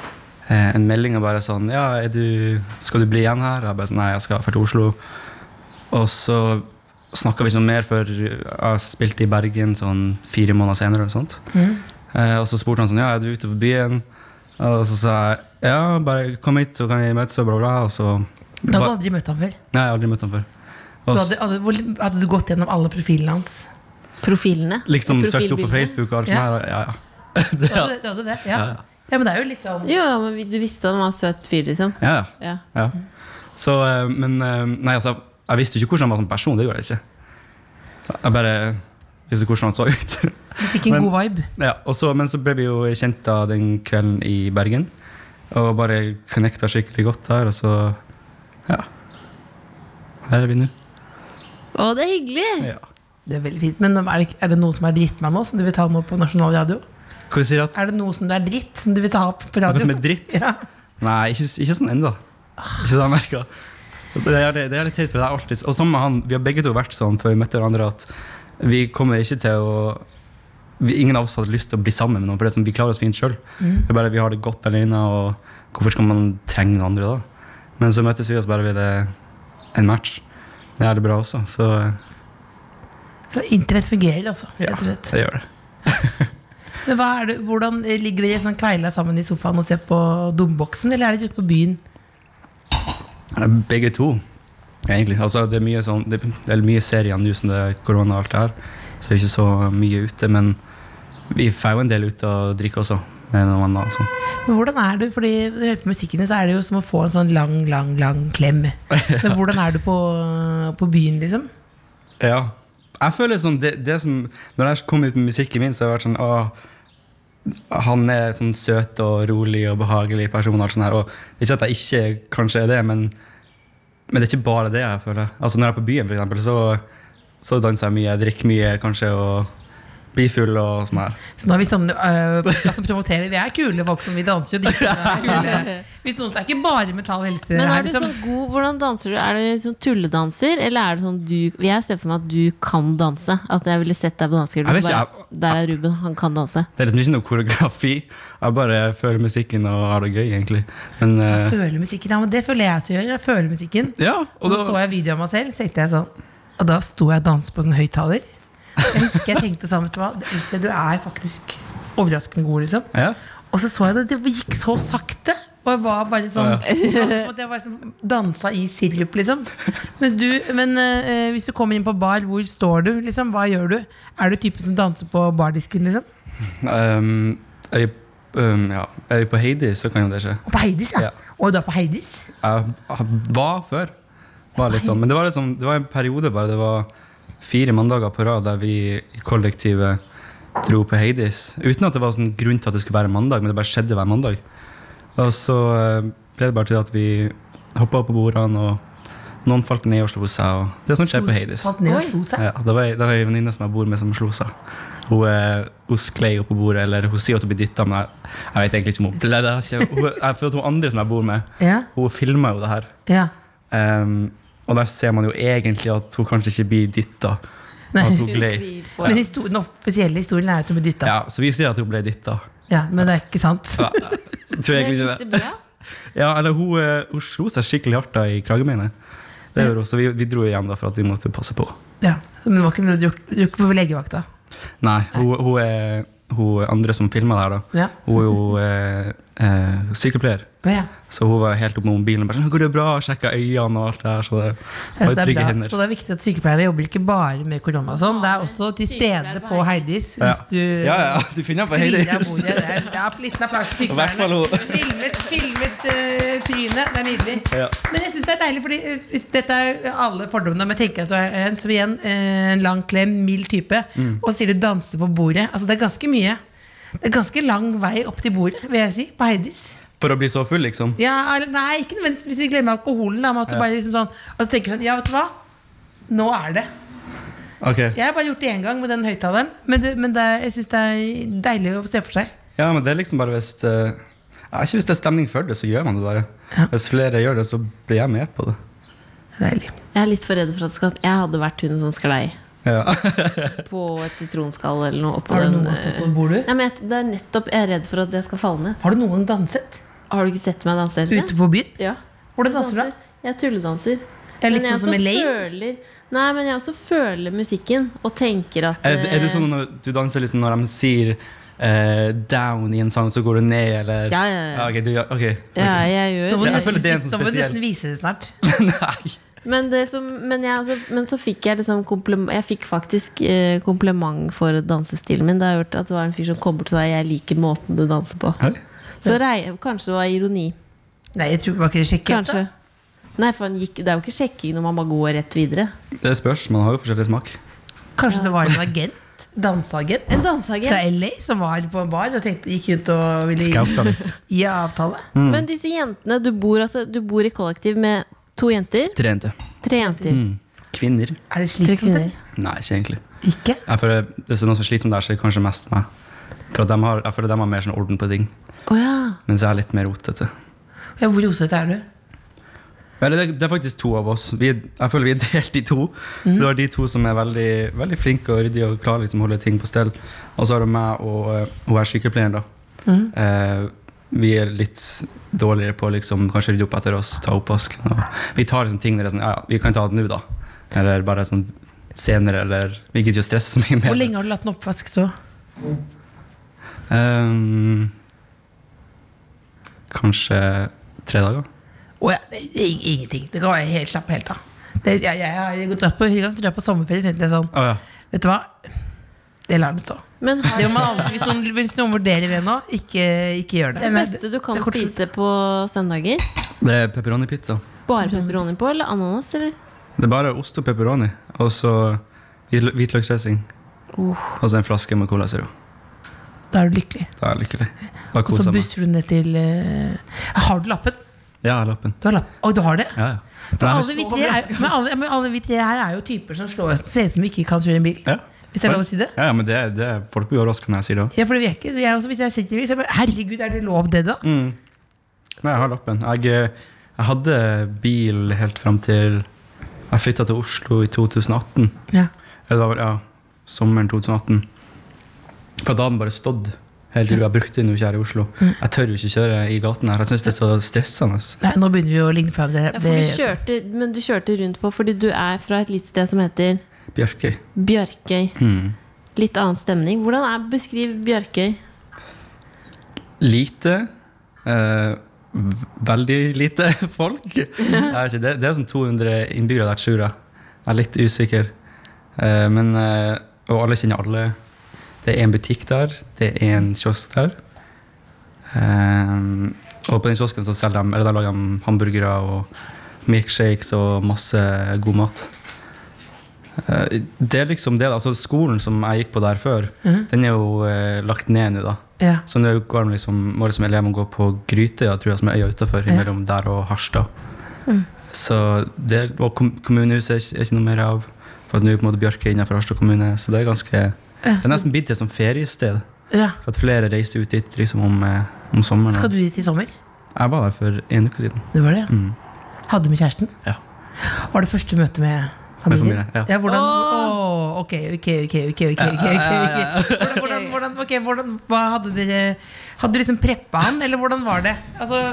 Speaker 5: en melding og bare sånn Ja, er du, skal du bli igjen her? Og jeg bare sånn Nei, jeg skal dra til Oslo. Og så snakka vi ikke noe mer før jeg spilte i Bergen sånn fire måneder senere. eller sånt.
Speaker 4: Mm.
Speaker 5: Eh, og så spurte han sånn Ja, er du ute på byen? Og så sa jeg ja, bare kom hit, så kan vi møtes, og bla, bla. Og så
Speaker 4: Da hadde du aldri møtt han før.
Speaker 5: Nei, jeg har aldri møtt han før.
Speaker 4: Du
Speaker 5: Og
Speaker 4: hadde, hadde, hvor- hadde du gått gjennom alle profilene hans?
Speaker 3: Profilene.
Speaker 5: liksom søkte opp på
Speaker 3: Profilbildene.
Speaker 5: Facebook og alt sånt
Speaker 4: Ja.
Speaker 5: her. og- Ja, ja.
Speaker 4: Du hadde, du hadde <laughs> det? Ja.
Speaker 5: Ja, ja.
Speaker 4: ja, men det er jo litt sånn
Speaker 3: Jo, ja, men vi- du visste han var en søt fyr, liksom.
Speaker 5: ja, ja.
Speaker 3: Ja.
Speaker 5: Ja. Så, eh, men eh, Nei, altså, jeg- jeg visste jo ikke hvordan han var som person. Det gjorde jeg ikke. Jeg bare visste hvordan han så ut. <laughs>
Speaker 4: Fikk en
Speaker 5: Men-
Speaker 4: god vibe.
Speaker 5: ja, og så, men så ble vi jo kjent da den kvelden i Bergen. Og bare connecta skikkelig godt der, og så Ja. Her er vi nå.
Speaker 3: Å, det er hyggelig!
Speaker 5: Ja.
Speaker 4: Det er veldig fint Men er det, ikke- er det noe som er dritt med nå, som du vil ta nå på nasjonal radio?
Speaker 5: Hva sier du at?
Speaker 4: Er det noe som du er dritt, som du vil ta opp på radio?
Speaker 5: Noe som er dritt?
Speaker 4: <laughs> Ja.
Speaker 5: Nei, ikke, ikke sånn ennå. Ikke sånn jeg merker. Det er, det er litt teit, for det er alltid Og sammen med han, vi har begge to vært sånn før vi møtte hverandre, at vi kommer ikke til å vi, Ingen av oss hadde lyst til å bli sammen med noen, for det er sånn, vi klarer oss fint sjøl.
Speaker 4: Mm.
Speaker 5: bare Vi har det godt alene, og hvorfor skal man trenge noen andre da? Men så møttes vi, og så bare ble det en match. Det er det bra også, så
Speaker 4: Så Internett fungerer, altså.
Speaker 5: ja,
Speaker 4: Rett og slett.
Speaker 5: det gjør det.
Speaker 4: Men hva er det, Hvordan ligger dere sånn kveila sammen i sofaen og ser på Domboksen, eller er dere ute på byen?
Speaker 5: Begge to, egentlig. Altså, det er mye, sånn, det er mye serier nå som det er korona og alt det her, så vi er ikke så mye ute. Men vi får jo en del ut og drikke også. Med noen venner og sånn.
Speaker 4: Men hvordan er du, fordi når du hører på musikken din, så er det jo som å få en sånn lang, lang, lang klem. Men hvordan er du på, på byen, liksom?
Speaker 5: Ja. Jeg føler sånn, det, det som, Når jeg kom ut med musikken min, så har jeg vært sånn åh, Han er sånn søt og rolig og behagelig person. Og alt sånt her, og Ikke at jeg ikke kanskje er det, men, men det er ikke bare det. jeg føler Altså Når jeg er på byen, for eksempel, så, så danser jeg mye, jeg drikker mye kanskje og bli full og sånn her.
Speaker 4: Så nå er vi sånn øh, altså promoterer Vi er kule folk som vi danser og drikker. og er kule. Hvis noen, det er ikke bare Metall Helse
Speaker 3: Men
Speaker 4: her,
Speaker 3: er du
Speaker 4: liksom.
Speaker 3: sånn god, hvordan danser du? Er du sånn tulledanser, eller er det sånn du Jeg ser for meg at du kan danse. At jeg ville sett deg på
Speaker 5: Jeg
Speaker 3: dansegulvet.
Speaker 5: vet ikke,
Speaker 3: bare, Der er Ruben, han kan danse.
Speaker 5: Det er liksom ikke noe koreografi. Jeg bare føler musikken og har det gøy, egentlig. Men eh,
Speaker 4: Føler musikken, ja, men Det føler jeg som gjør. Jeg føler musikken.
Speaker 5: ja,
Speaker 4: Og
Speaker 5: og
Speaker 4: så så
Speaker 5: da,
Speaker 4: jeg videoen av meg selv, så tenkte jeg sånn Og da sto jeg og danset på sånn høyttaler. Jeg husker jeg tenkte sånn, vet du hva, Else, du er faktisk overraskende god, liksom.
Speaker 5: ja.
Speaker 4: Og så så jeg det, det gikk så sakte. Og jeg var bare sånn
Speaker 5: Ja,
Speaker 4: Som at jeg var sånn, dansa i sirup, liksom. Mens du, men eh, hvis du kommer inn på bar, hvor står du? liksom, Hva gjør du? Er du typen som danser på bardisken? liksom?
Speaker 5: Um, er, vi, um, ja. er vi på Hades, så kan jo det skje.
Speaker 4: Og på Heidis, ja.
Speaker 5: Ja.
Speaker 4: Og du er på Heidis?
Speaker 5: Jeg jeg var før. Var litt sånn. Men det var, liksom, det var en periode bare. Det var fire mandager på rad der vi i kollektivet dro på Hades. Uten at det var sånn grunn til at det skulle være mandag, men det bare skjedde hver mandag. Og så eh, ble det bare til at vi hoppa opp på bordene, og noen falt ned og slo seg. Og det som skjer på Hades.
Speaker 4: Falt ned og slo seg.
Speaker 5: Ja, det var det var ei venninne som jeg bor med, som slo seg. Hun, eh, hun sklei opp på bordet, eller hun sier at hun blir dytta, men jeg, jeg vet egentlig ikke om hun ble det. Hun, jeg føler at hun andre som jeg bor med,
Speaker 4: Ja,
Speaker 5: hun filma jo det her.
Speaker 4: ja.
Speaker 5: Ehm, og der ser man jo egentlig at hun kanskje ikke blir dytta. At hun glei.
Speaker 4: Men histor- den offisielle historien er at hun ble dytta. Ja.
Speaker 5: Ja, så vi sier at hun ble dytta.
Speaker 4: men det er ikke sant.
Speaker 5: Tror jeg egentlig det. <laughs> Ja, eller hun, eh, hun slo seg skikkelig hardt da i kragebeinet. Det gjorde hun, Så vi, vi dro igjen da for at vi måtte passe på.
Speaker 4: Ja, Men det var ikke noe du gjorde- du gjorde ikke på legevakta.
Speaker 5: Nei, hun, hun er hun andre som filma det her, da.
Speaker 4: Ja.
Speaker 5: Hun er jo eh, eh, sykepleier.
Speaker 4: Å, ja.
Speaker 5: Så hun var helt oppe med mobilen og bare sånn, går det bra, sjekka øynene og alt det her. Så det
Speaker 4: Ja,
Speaker 5: var jo
Speaker 4: så, det er
Speaker 5: trygge
Speaker 4: bra.
Speaker 5: hender.
Speaker 4: så det er viktig at sykepleierne jobber ikke bare med korona. og sånn Det er også til stede på Heidis. Hvis du
Speaker 5: Ja, ja, du finner på
Speaker 4: Sklir av
Speaker 5: Heidis.
Speaker 4: bordet. Det er, det er liten applaus til
Speaker 5: I hvert fall
Speaker 4: sykepleierne. Filmet, filmet eh, trynet. Det er nydelig.
Speaker 5: Ja.
Speaker 4: Men jeg syns det er deilig, fordi eh, hvis- dette er jo alle fordommene. Men jeg tenker at du er en som igjen eh, en lang klem, mild type,
Speaker 5: Mm.
Speaker 4: og så sier du 'danse på bordet'. Altså Det er ganske mye. Det er ganske lang vei opp til bordet, vil jeg si, på Heidis.
Speaker 5: <laughs> For å bli så full, liksom.
Speaker 4: Ja, eller, nei, ikke nødvendigvis hvis vi glemmer alkoholen. Da, men at du bare liksom sånn At du tenker sånn Ja, vet du hva? Nå er det.
Speaker 5: Ok.
Speaker 4: Jeg har bare gjort det én gang med den høyttaleren. Men, det- men det, jeg syns det er deilig å se for seg.
Speaker 5: Ja, men det er liksom bare hvis eh, ja, Ikke hvis det er stemning for det, så gjør man det bare. Hvis flere gjør det, så blir jeg med på det.
Speaker 4: Deilig.
Speaker 3: Jeg er litt for redd for at skal, jeg hadde vært hun som sklei
Speaker 4: <laughs>
Speaker 5: Ja.
Speaker 3: på et sitronskall eller noe oppå
Speaker 4: Har du
Speaker 3: den.
Speaker 4: noen gang stått
Speaker 3: eh,
Speaker 4: på et bord, du?
Speaker 3: Nei, men jeg, det er nettopp, jeg er redd for at jeg skal falle ned.
Speaker 4: Har du noen gang danset?
Speaker 3: Har du ikke sett meg danse? Else?
Speaker 4: Ute på byen?
Speaker 3: Ja.
Speaker 4: Hvordan danser du da?
Speaker 3: Jeg tulledanser.
Speaker 4: Er det litt
Speaker 3: Men jeg
Speaker 4: sånn som
Speaker 3: også
Speaker 4: Elaine?
Speaker 3: føler- Nei, men jeg også føler musikken og tenker at
Speaker 5: Er, er du sånn
Speaker 3: eh,
Speaker 5: når du danser liksom når de sier eh, 'down' i en sang, så går du ned, eller
Speaker 3: Ja, ja, ja.
Speaker 5: ok, du, gjør- ok.
Speaker 3: Ja, jeg gjør
Speaker 4: Nå må du
Speaker 5: Jeg føler
Speaker 4: nesten,
Speaker 5: det er en sånn
Speaker 4: nå må du
Speaker 5: spesiell-
Speaker 4: nesten vise det snart.
Speaker 5: <laughs> Nei.
Speaker 3: Men, det som, men, jeg, også- men så fikk jeg liksom kompliment, Jeg fikk faktisk eh, kompliment for dansestilen min. Da jeg hørte at det var en fyr som kom bort og sa 'jeg liker måten du danser på'.
Speaker 5: Oi.
Speaker 3: Så rei, kanskje det var ironi.
Speaker 4: Nei, jeg tror det var ikke sjekket.
Speaker 3: Kanskje. Nei, for han gikk, Det er jo ikke sjekking når man bare går rett videre.
Speaker 5: Det spørs. Man har jo forskjellig smak.
Speaker 4: Kanskje det var en agent? Danseagent?
Speaker 3: En dansehage.
Speaker 4: Fra LA som var på en bar og tenkte, gikk rundt og ville
Speaker 5: Skauta litt. Mm.
Speaker 4: gi avtale.
Speaker 3: Men disse jentene Du bor, altså, du bor i kollektiv med to jenter.
Speaker 5: Trente.
Speaker 3: Tre jenter.
Speaker 5: Kvinner?
Speaker 4: Er det
Speaker 3: Tre
Speaker 4: slitsomt?
Speaker 3: kvinner.
Speaker 4: eller?
Speaker 5: Nei, ikke egentlig.
Speaker 4: Ikke?
Speaker 5: Jeg føler, hvis det er noen som sliter med det, her, så er det kanskje mest meg. For at de har, jeg føler de har mer sånn orden på ting,
Speaker 3: Å ja.
Speaker 5: mens jeg er litt mer rotete.
Speaker 4: Ja, hvor rotete er du?
Speaker 5: Eller det, det er faktisk to av oss. Vi, jeg føler vi er delt i to.
Speaker 4: Mhm.
Speaker 5: Du har de to som er veldig, veldig flinke og ryddige og klarer liksom å holde ting på stell. Og så har du meg og eh, hun er sykepleieren, da.
Speaker 4: Mhm.
Speaker 5: Eh, vi er litt dårligere på å liksom, kanskje rydde opp etter oss, ta oppvasken. og Vi tar liksom ting der det er sånn Ja, ja, vi kan ta det nå, da. Eller bare sånn senere, eller Vi gidder ikke å stresse så mye med
Speaker 4: Hvor
Speaker 5: det.
Speaker 4: lenge har du latt en oppvask stå?
Speaker 5: Ehm, kanskje tre dager.
Speaker 4: Å ja, det, det, er ingenting. Det kan være helt slapp helt av. Det, jeg, jeg har gått dratt på, jeg drar på sommerferie tenkte jeg sånn
Speaker 5: Å ja.
Speaker 4: Vet du hva? Det lar den stå.
Speaker 3: Men har
Speaker 4: Det må man aldri, hvis, noen, hvis noen vurderer det nå, ikke, ikke gjør det.
Speaker 3: Det beste du kan
Speaker 4: Det er kortsluttet.
Speaker 3: spise på søndager?
Speaker 5: Det er pepperoni-pizza.
Speaker 3: Bare pepperoni på, eller ananas? Eller?
Speaker 5: Det er bare ost og pepperoni, og så hvit- hvitløksdressing.
Speaker 4: Uh.
Speaker 5: Og så en flaske med Cola Zero.
Speaker 4: Da er du lykkelig.
Speaker 5: Da er jeg lykkelig. Da
Speaker 4: Og så
Speaker 5: koser jeg meg.
Speaker 4: busser du ned til eh, Har du lappen?
Speaker 5: Ja, lappen.
Speaker 4: Du har lapp. Å, du har det?
Speaker 5: Ja, ja. Men jeg
Speaker 4: Men
Speaker 5: har-
Speaker 4: alle, vi tre er, men alle, men alle vi tre her er jo typer som slår, ser ut som vi ikke kan kjøre en bil.
Speaker 5: Ja.
Speaker 4: Hvis det er lov å si det?
Speaker 5: Ja, ja, men det, det, folk blir overrasket når jeg sier det også.
Speaker 4: Ja, for det virker. Jeg også, hvis jeg sitter i bil, så er jeg bare Herregud, er det lov, det, da?
Speaker 5: Mm. Nei, jeg har lappen. Jeg, eh, jeg hadde bil helt frem til jeg flyttet til Oslo i 2018.
Speaker 4: Ja.
Speaker 5: Eller det var, ja, sommeren 2018. For da hadde den bare stått hele tiden. Jeg brukte den jo ikke her i Oslo.
Speaker 4: Mm.
Speaker 5: Jeg tør jo ikke kjøre i gaten her. Jeg synes det er så stressende.
Speaker 4: Nei, nå begynner vi å ligne på hverandre.
Speaker 3: Ja, for
Speaker 4: Det-
Speaker 3: du kjørte, men du kjørte rundt på fordi du er fra et lite sted som heter
Speaker 5: Bjørkøy.
Speaker 3: Bjørkøy.
Speaker 4: Mm.
Speaker 3: Litt annen stemning. Hvordan er, Beskriv Bjørkøy.
Speaker 5: Lite. Eh, v- veldig lite <laughs> folk. Jeg vet ikke, det, det er sånn 200 innbyggere der, tror jeg. Jeg er litt usikker. Eh, men, eh, og alle kjenner alle. Det er en butikk der, det er en kiosk der. Eh, og på den kiosken så selger de, eller der lager de hamburgere og milkshakes og masse god mat. Eh, det er liksom det, da. altså Skolen som jeg gikk på der før, den er jo eh, lagt ned nå, da.
Speaker 4: Ja.
Speaker 5: Så nå går de liksom, må liksom elevene gå på Grytøya, tror jeg, som er øya utafor, mellom der og Harstad.
Speaker 4: Mm.
Speaker 5: Så det, og kom- kommunehuset er ikke, er ikke noe mer av. For at nå er på en måte Bjørke innenfor Harstad kommune, så det er ganske Det er nesten blitt et sånt feriested.
Speaker 4: ja.
Speaker 5: For at flere reiser ut dit liksom om, eh, om sommeren.
Speaker 4: Skal du dit i sommer?
Speaker 5: Jeg var der for en uke siden.
Speaker 4: Det var det, ja. Hadde med kjæresten?
Speaker 5: Mm. Ja.
Speaker 4: Var det første møte med familien?
Speaker 5: Med familien, ja.
Speaker 4: hvordan, Åh, ok, ok, ok, ok, ok, ok, ok. Hvordan, hvordan, hvordan, ok, hvordan, hva hadde dere Hadde du liksom preppa han, eller hvordan var det? Altså,
Speaker 5: <laughs>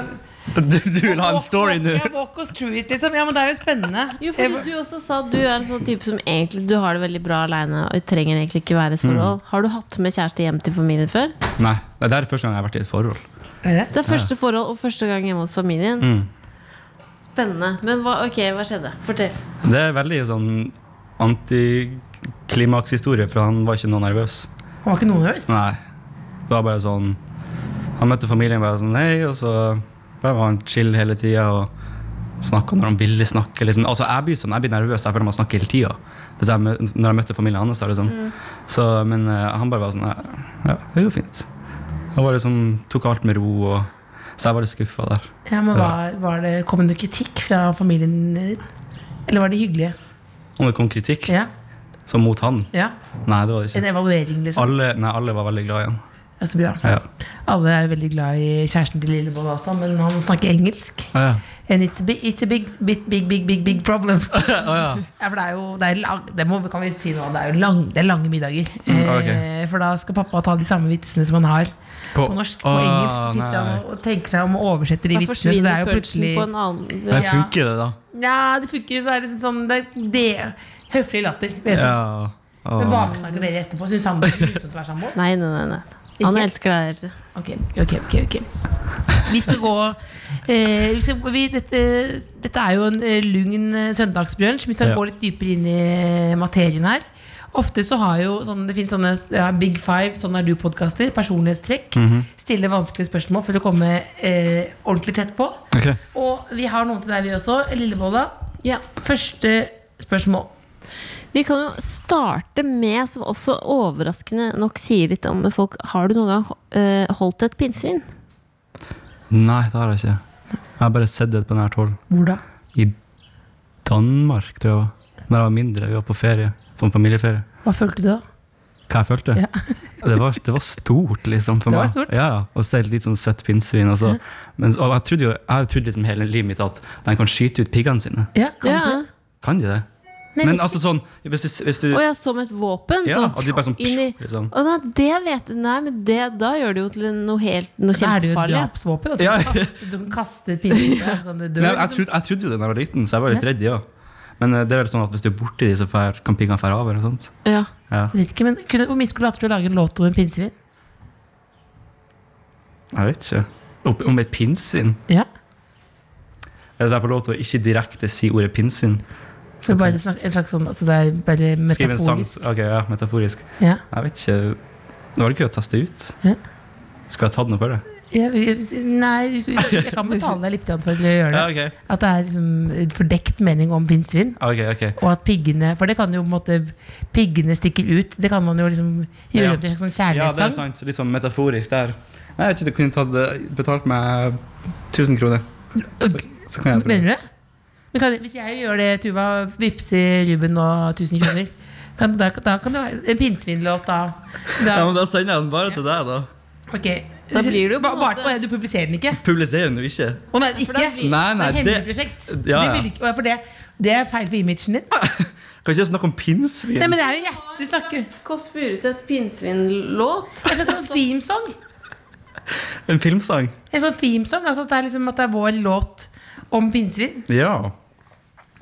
Speaker 5: Du, vil ha en
Speaker 4: walk-
Speaker 5: story nå!
Speaker 4: Ja, walk us through it, liksom. Ja, men det er jo spennende.
Speaker 3: Jo, fordi Du også sa at du er en sånn type som egentlig Du har det veldig bra aleine og trenger egentlig ikke være i et
Speaker 4: Mm.
Speaker 3: forhold. Har du hatt med kjæreste hjem til familien før?
Speaker 5: Nei, det er første gang jeg har vært i et forhold.
Speaker 4: Er det?
Speaker 3: Det er første forhold og første gang hjemme hos familien.
Speaker 4: Mm.
Speaker 3: Spennende. Men hva, ok, hva skjedde? Fortell.
Speaker 5: Det er veldig sånn antiklimakshistorie, for han var ikke noe nervøs.
Speaker 4: Han var ikke noe nervøs?
Speaker 5: Nei. Det var bare sånn Han møtte familien bare sånn hei, og så bare var han chill hele tida og snakka når han ville snakke. Liksom. Altså, jeg blir sånn, jeg blir nervøs jeg føler man snakker hele tida. Hvis jeg mø- Når jeg møtte familien hans. da, Liksom. Så, men eh, han bare var sånn Ja, det går fint. Han bare liksom, tok alt med ro. Og, så jeg var litt skuffa der.
Speaker 4: Ja, men var, var det, Kom det noe kritikk fra familien? Eller var det hyggelige?
Speaker 5: Om det kom kritikk,
Speaker 4: Ja,
Speaker 5: så mot han
Speaker 4: ja.
Speaker 5: Nei, det var det
Speaker 4: En
Speaker 5: ikke.
Speaker 4: evaluering, liksom?
Speaker 5: Alle, nei, alle var veldig glad i han.
Speaker 4: Ja, så bra.
Speaker 5: Ja.
Speaker 4: Altså, Alle er jo veldig glad i kjæresten til Lilleboll også, men han snakker engelsk.
Speaker 5: Ja, ja.
Speaker 4: And it's a big, it's a big, big, big, big, big, big
Speaker 5: <laughs>
Speaker 4: problem. ja, for det er jo det er lang, det må, kan vi si nå, det er jo lang, det er lange middager.
Speaker 5: Mm, ok.
Speaker 4: eh, for da skal pappa ta de samme vitsene som han har på,
Speaker 5: På-
Speaker 4: norsk. På
Speaker 5: Åh,
Speaker 4: engelsk så sitter han
Speaker 5: nei.
Speaker 4: og, og tenker seg om og oversetter de
Speaker 3: Da
Speaker 4: vitsene. Så det er
Speaker 3: forsvinner
Speaker 4: jo
Speaker 3: pølsen
Speaker 4: plutselig
Speaker 3: på en annen
Speaker 5: Men
Speaker 4: Ja.
Speaker 5: funker det, da?
Speaker 4: Ja, det funker så er det liksom sånn Det, det høflig latter. vil jeg si.
Speaker 5: Ja.
Speaker 4: Men
Speaker 5: Og,
Speaker 4: baksnakker dere etterpå? Syns han det er grusomt å være sammen med oss?
Speaker 3: Nei, nei, nei. nei. Han
Speaker 4: Ikke?
Speaker 3: elsker deg, Else.
Speaker 4: Ok, ok, ok, ok Vi skal gå eh, vi skal, vi, dette, dette er jo en eh, lugn eh, søndagsbrunsj. Vi skal
Speaker 5: Ja.
Speaker 4: gå litt dypere inn i eh, materien her. Ofte så har jo sånn, Det finnes sånne ja, Big Five, sånn er du-podkaster. Personlighetstrekk.
Speaker 5: Mhm.
Speaker 4: Stille vanskelige spørsmål for å komme eh, ordentlig tett på.
Speaker 5: Ok.
Speaker 4: Og vi har noen til deg, vi også. Lillebolla.
Speaker 3: Ja.
Speaker 4: Første spørsmål.
Speaker 3: Vi kan jo starte med, som også overraskende nok sier litt om folk Har du noen gang eh, holdt et pinnsvin?
Speaker 5: Nei, det har jeg ikke. Jeg har bare sett det på nært hold.
Speaker 4: Hvor da?
Speaker 5: I Danmark, tror jeg. det var. Når jeg var mindre, vi var på ferie. På en familieferie.
Speaker 4: Hva følte du da?
Speaker 5: Hva jeg følte?
Speaker 4: Ja.
Speaker 5: <laughs> det, var, det var stort, liksom, for
Speaker 4: Det var
Speaker 5: meg.
Speaker 4: stort.
Speaker 5: Ja, ja. Og så et litt sånn søtt pinnsvin. Og, så. Men, og jeg trodde jo jeg har trodd liksom hele livet mitt at de kan skyte ut piggene sine.
Speaker 4: Ja, kan
Speaker 3: Ja.
Speaker 4: du det?
Speaker 5: Kan de det?
Speaker 4: Nei,
Speaker 5: Men
Speaker 4: men-
Speaker 5: altså sånn Hvis du, hvis du
Speaker 3: Og jeg som et våpen?
Speaker 5: Ja,
Speaker 3: sånn,
Speaker 5: at de bare sånn,
Speaker 3: inn i,
Speaker 5: psh, liksom.
Speaker 3: Å, nei, det vet jeg Nei, men det, da gjør det jo til noe helt noe
Speaker 4: Da er det jo et
Speaker 3: kjempefarlig.
Speaker 4: drapsvåpen. at
Speaker 5: Ja.
Speaker 4: Du kan kaste- du kan kaste pinnen, og så kan du dø.
Speaker 5: <laughs> Nei, altså, jeg,
Speaker 4: liksom.
Speaker 5: trodde, jeg trodde jo det da jeg var liten, så jeg var litt redd, ja. Men eh, det er vel sånn at hvis du er borti de, så fær- kan piggene fære over og sånt.
Speaker 3: Ja.
Speaker 5: Ja,
Speaker 4: Jeg vet ikke, men kunne, Hvor mye skulle du hatt til å lage en låt om en pinnsvin?
Speaker 5: jeg vet ikke. Opp- Om et pinnsvin?
Speaker 4: Ja.
Speaker 5: Hvis jeg får lov til å ikke direkte si ordet pinnsvin.
Speaker 4: Så bare snak, en slags sånn, altså det er bare
Speaker 5: Skriv en sang.
Speaker 4: metaforisk.
Speaker 5: Ok, ja, metaforisk.
Speaker 4: Ja.
Speaker 5: Jeg vet ikke. Det var gøy å teste ut.
Speaker 4: Ja.
Speaker 5: Skal jeg tatt noe for det?
Speaker 4: Ja, vi- vi- nei, vi- vi- jeg
Speaker 3: <laughs>
Speaker 4: kan betale deg litt grann for å gjøre det.
Speaker 5: ok.
Speaker 4: At det er liksom en fordekt mening om pinnsvin.
Speaker 5: Ok, ok.
Speaker 4: Og at piggene For det kan jo på en måte Piggene stikker ut. Det kan man jo liksom gjøre
Speaker 5: Ja.
Speaker 4: om til en slags sånn
Speaker 5: Ja, det er
Speaker 4: kjærlighetssang.
Speaker 5: sant. Litt sånn metaforisk der. Nei, jeg vet ikke, eh, du kunne tatt, betalt meg 1000 kroner.
Speaker 4: Og-
Speaker 5: Så kan jeg prøve.
Speaker 4: Mener du det? Men kan, hvis jeg gjør det, Tuva, vippser Ruben nå 1000 kroner kan, da, da kan det være en pinnsvinlåt, da. da
Speaker 5: Ja, men Da sender jeg den bare til deg, da.
Speaker 4: ok.
Speaker 3: Da blir det jo på
Speaker 4: Ba-
Speaker 3: en
Speaker 4: bare
Speaker 3: måte-
Speaker 4: på Du publiserer den ikke?
Speaker 5: Publiserer den jo ikke.
Speaker 4: Å nei, ikke?
Speaker 5: Nei, nei,
Speaker 4: det er et hemmelig
Speaker 5: det-
Speaker 4: prosjekt.
Speaker 5: Ja,
Speaker 4: Du
Speaker 5: ja.
Speaker 4: vil ikke, å, for det, det er feil for imagen din.
Speaker 5: Kan ikke snakke om pinnsvin.
Speaker 4: Nei, men det er jo hjerte... Du snakker
Speaker 3: Kåss Furuseth pinnsvinlåt.
Speaker 4: Det er en slags sånn themesong.
Speaker 5: En filmsang.
Speaker 4: En sånn themesong, altså at det er liksom at det er vår låt om pinnsvin.
Speaker 5: Ja.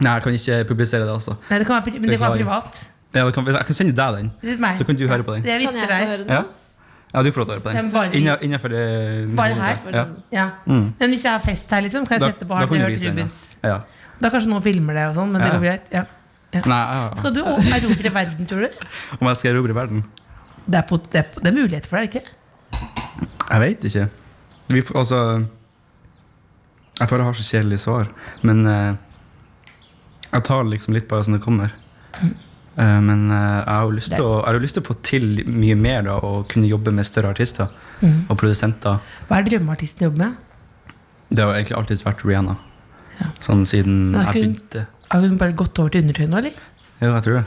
Speaker 5: Nei, jeg kan ikke publisere det, altså.
Speaker 4: Nei, det kan være, pri- men det kan være
Speaker 5: Beklager.
Speaker 4: privat.
Speaker 5: Ja, det kan, jeg kan sende deg den,
Speaker 4: Det er meg.
Speaker 5: så kan du høre på den.
Speaker 4: Det er
Speaker 3: Kan jeg
Speaker 4: vipser
Speaker 3: få
Speaker 4: deg.
Speaker 3: høre den?
Speaker 5: Ja, ja du får lov til å høre på
Speaker 4: Ja,
Speaker 5: den.
Speaker 4: men bare vi-
Speaker 5: Inna- Innenfor det
Speaker 4: Bare her?
Speaker 5: Ja.
Speaker 4: Ja.
Speaker 5: Mm.
Speaker 4: Men hvis jeg har fest her, liksom, kan jeg
Speaker 5: Da,
Speaker 4: sette på
Speaker 5: da
Speaker 4: Har
Speaker 5: kan
Speaker 4: dere
Speaker 5: du
Speaker 4: hørt
Speaker 5: vise den.
Speaker 4: Rubens?
Speaker 5: Ja. Ja.
Speaker 4: Da kanskje noen filmer det og sånn, men det
Speaker 5: Ja.
Speaker 4: går greit. Ja.
Speaker 5: Nei, ja. ja.
Speaker 4: Skal du o- erobre verden, tror du?
Speaker 5: Om jeg skal erobre verden?
Speaker 4: Det er, på, det, er, det er mulighet for det, er det ikke?
Speaker 5: Jeg vet ikke. Vi, får- altså Jeg føler jeg har så kjedelig svar, men eh, jeg tar liksom litt bare som det kommer. Eh, men eh, jeg har jo lyst til å, jeg har jo lyst til å få til mye mer da, og kunne jobbe med større artister
Speaker 4: Mm.
Speaker 5: og produsenter.
Speaker 4: Hva er drømmeartisten du jobber med?
Speaker 5: Det har jo egentlig alltid vært Rihanna. Sånn siden
Speaker 4: Men
Speaker 5: jeg
Speaker 4: har ikke hun-
Speaker 5: begynte.
Speaker 4: Har hun bare gått over til undertøy nå, eller?
Speaker 5: Jo, jeg tror det.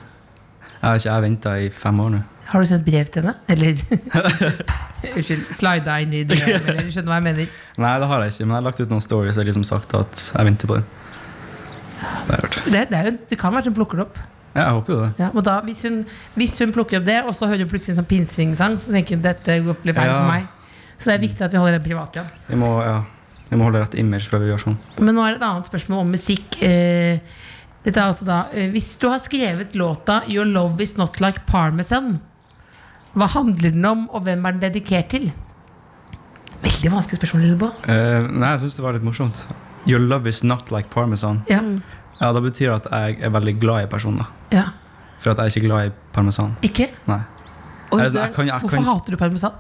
Speaker 5: Jeg har ikke jeg venta i fem år nå.
Speaker 4: Har du sendt brev til henne? Eller Unnskyld, slida inn i det, eller du skjønner hva jeg mener.
Speaker 5: Nei, det har jeg ikke, men jeg har lagt ut noen stories og liksom sagt at jeg venter på den. Det har jeg hørt.
Speaker 4: Det, det, er jo, det kan være at hun plukker det opp.
Speaker 5: Ja, jeg håper jo det.
Speaker 4: Ja, og da, hvis, hun, hvis hun plukker opp det, og så hører hun plutselig en sånn pinnsvingsang, så tenker hun dette går- blir feil
Speaker 5: Ja.
Speaker 4: for meg. Så det er viktig at vi holder den privat, ja.
Speaker 5: Vi må, ja, vi må holde rett image før vi gjør sånn.
Speaker 4: Men nå er det et annet spørsmål om musikk. Eh, Dette er altså da eh, Hvis du har skrevet låta 'Your love is not like parmesan', hva handler den om, og hvem er den dedikert til? Veldig vanskelig spørsmål, Lillebo.
Speaker 5: Eh, nei, jeg syns det var litt morsomt. Your love is not like parmesan.
Speaker 4: Ja.
Speaker 5: Ja, Det betyr at jeg er veldig glad i personer.
Speaker 4: ja.
Speaker 5: For at jeg er ikke glad i parmesan.
Speaker 4: Ikke?
Speaker 5: Nei. Altså,
Speaker 4: Oi,
Speaker 5: Jeg,
Speaker 4: du er-
Speaker 5: jeg kan, jeg
Speaker 4: Hvorfor
Speaker 5: kan,
Speaker 4: hater du parmesan?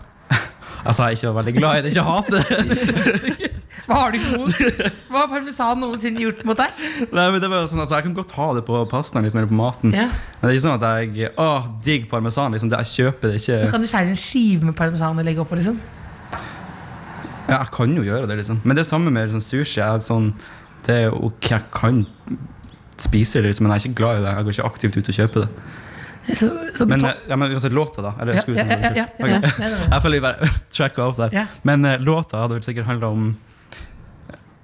Speaker 5: altså, jeg er ikke veldig glad i det, ikke hat det. <laughs>
Speaker 4: Hva har du imot? Hva har parmesan noensinne gjort mot deg?
Speaker 5: Nei, men det var jo sånn, altså, Jeg kan godt ha det på pastaen liksom, eller på maten.
Speaker 4: Ja.
Speaker 5: Men det er ikke sånn at jeg Å, digg parmesan. Liksom, det, jeg kjøper det ikke.
Speaker 4: Kan du skjære en skive med parmesan og legge oppå? Liksom?
Speaker 5: Ja, jeg kan jo gjøre det, liksom. Men det er samme med sånn sushi. Jeg er sånn, det er ok, jeg kan spise det, liksom, men jeg er ikke glad i det. Jeg går ikke aktivt ut og kjøper det.
Speaker 4: Så, så
Speaker 5: Men,
Speaker 4: betal-
Speaker 5: eh, ja, men uansett låta, da. Eller,
Speaker 4: Ja,
Speaker 5: skulle
Speaker 4: ja,
Speaker 5: vi
Speaker 4: ja,
Speaker 5: snakke om
Speaker 4: ja,
Speaker 5: det?
Speaker 4: ja, ja,
Speaker 5: Ok.
Speaker 4: ja, det var det.
Speaker 5: Jeg føler vi bare <laughs> tracka opp der.
Speaker 4: Ja.
Speaker 5: Men eh, låta hadde vel sikkert handla om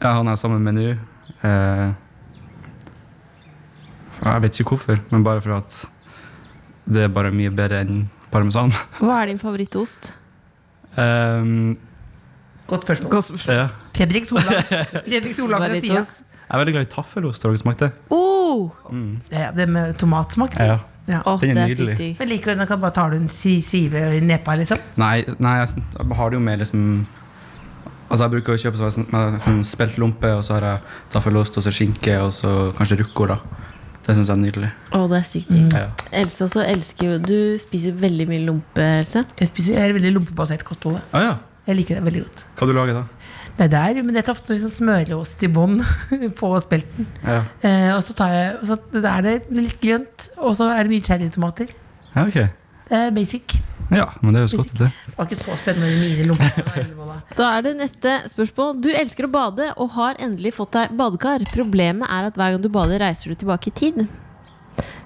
Speaker 5: ja, han jeg er sammen med nå. eh, jeg vet ikke hvorfor, men bare for at det er bare mye bedre enn parmesan.
Speaker 3: Hva er din favorittost?
Speaker 5: Um,
Speaker 4: Godt spørsmål.
Speaker 5: ja. <laughs>
Speaker 4: Fredrik Sola. Fredrik Sola fra sida.
Speaker 3: Favorittost?
Speaker 5: Jeg er veldig glad i taffelost. Har dere smakt det?
Speaker 3: Oh,
Speaker 4: Ja, det med tomatsmak.
Speaker 5: Ja.
Speaker 4: Ja.
Speaker 3: Åh,
Speaker 5: Den er
Speaker 3: det er
Speaker 5: nydelig.
Speaker 3: sykt digg.
Speaker 4: Men likevel, da kan du bare ta en si- skive i nepa, liksom.
Speaker 5: Nei, nei, jeg jeg har det jo med liksom Altså Jeg bruker å kjøpe sånn, med sånn speltlompe, og så har jeg taffelost og så skinke og så kanskje ruccol. da. Det syns jeg er nydelig.
Speaker 3: Å, det er sykt digg.
Speaker 5: Ja.
Speaker 3: Else også elsker jo Du spiser veldig mye lompe, Else.
Speaker 4: Jeg spiser jeg er veldig lompebasert kosthold. jeg.
Speaker 5: Ah, ja.
Speaker 4: Jeg liker det veldig godt.
Speaker 5: Hva du lager da?
Speaker 4: Nei, det er, men det er ofte noe sånn smøreost i bånn <laughs> på spelten.
Speaker 5: Ja,
Speaker 4: Eh, og så, tar jeg, og så er det litt grønt, og så er det mye cherrytomater.
Speaker 5: ja ok.
Speaker 4: Det er basic.
Speaker 5: Ja, men det høres godt ut, det.
Speaker 4: Det var ikke så spennende med mine lomper.
Speaker 3: Da er det neste spørsmål. Du elsker å bade og har endelig fått deg badekar. Problemet er at hver gang du bader, reiser du tilbake i tid.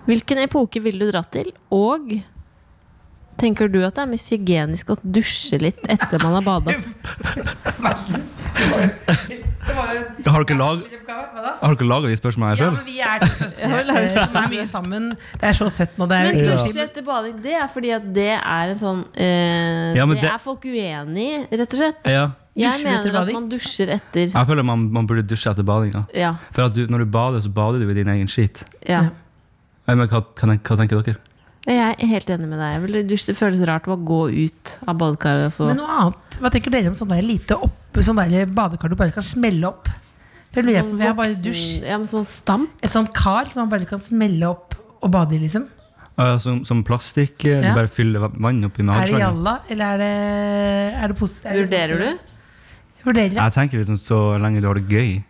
Speaker 3: Hvilken epoke ville du dratt til? Og tenker du at det er mest hygienisk å dusje litt etter man har bada?
Speaker 5: Har dere lag- har dere laga de spørsmålene
Speaker 4: Ja,
Speaker 5: sjøl?
Speaker 4: men vi er to søstre eh, som er mye sammen. Det er så søtt nå. Det er
Speaker 3: <laughs> Men
Speaker 4: veldig
Speaker 3: dusje
Speaker 4: koselig.
Speaker 3: etter bading, det er fordi at det er en sånn eh,
Speaker 5: Ja, men
Speaker 3: det,
Speaker 5: det-
Speaker 3: er folk uenig i, rett og slett.
Speaker 5: Ja.
Speaker 3: Jeg
Speaker 4: Dusjer du etter
Speaker 3: mener at
Speaker 4: bading?
Speaker 3: man dusjer etter
Speaker 5: Jeg føler man, man burde dusje etter badinga.
Speaker 3: Ja.
Speaker 5: For at du, når du bader, så bader du i din egen skit.
Speaker 3: ja.
Speaker 5: Eh, Men hva, hva, tenk- hva tenker dere?
Speaker 3: Jeg er helt enig med deg. Jeg vil dusje, Det føles rart å gå ut av badekaret. og så-
Speaker 4: Men noe annet. Hva tenker dere om sånn der lite opp, sånn der badekar du bare kan smelle opp? Det
Speaker 3: Sånn,
Speaker 4: lurer jeg på. Vi har bare
Speaker 3: Voksen-
Speaker 4: dusj.
Speaker 3: Ja, men sånn stamp.
Speaker 4: Et sånt kar som man bare kan smelle opp og bade i, liksom.
Speaker 5: Ah, ja, som, som plastikk? eh,
Speaker 4: Ja.
Speaker 5: Du bare fyller va- vann oppi med
Speaker 4: Er det
Speaker 5: håndkleet?
Speaker 4: jalla, eller er det, er det posi- er det
Speaker 3: Vurderer du?
Speaker 4: positivt? Vurderer jeg.
Speaker 5: Jeg tenker liksom så lenge du har det gøy.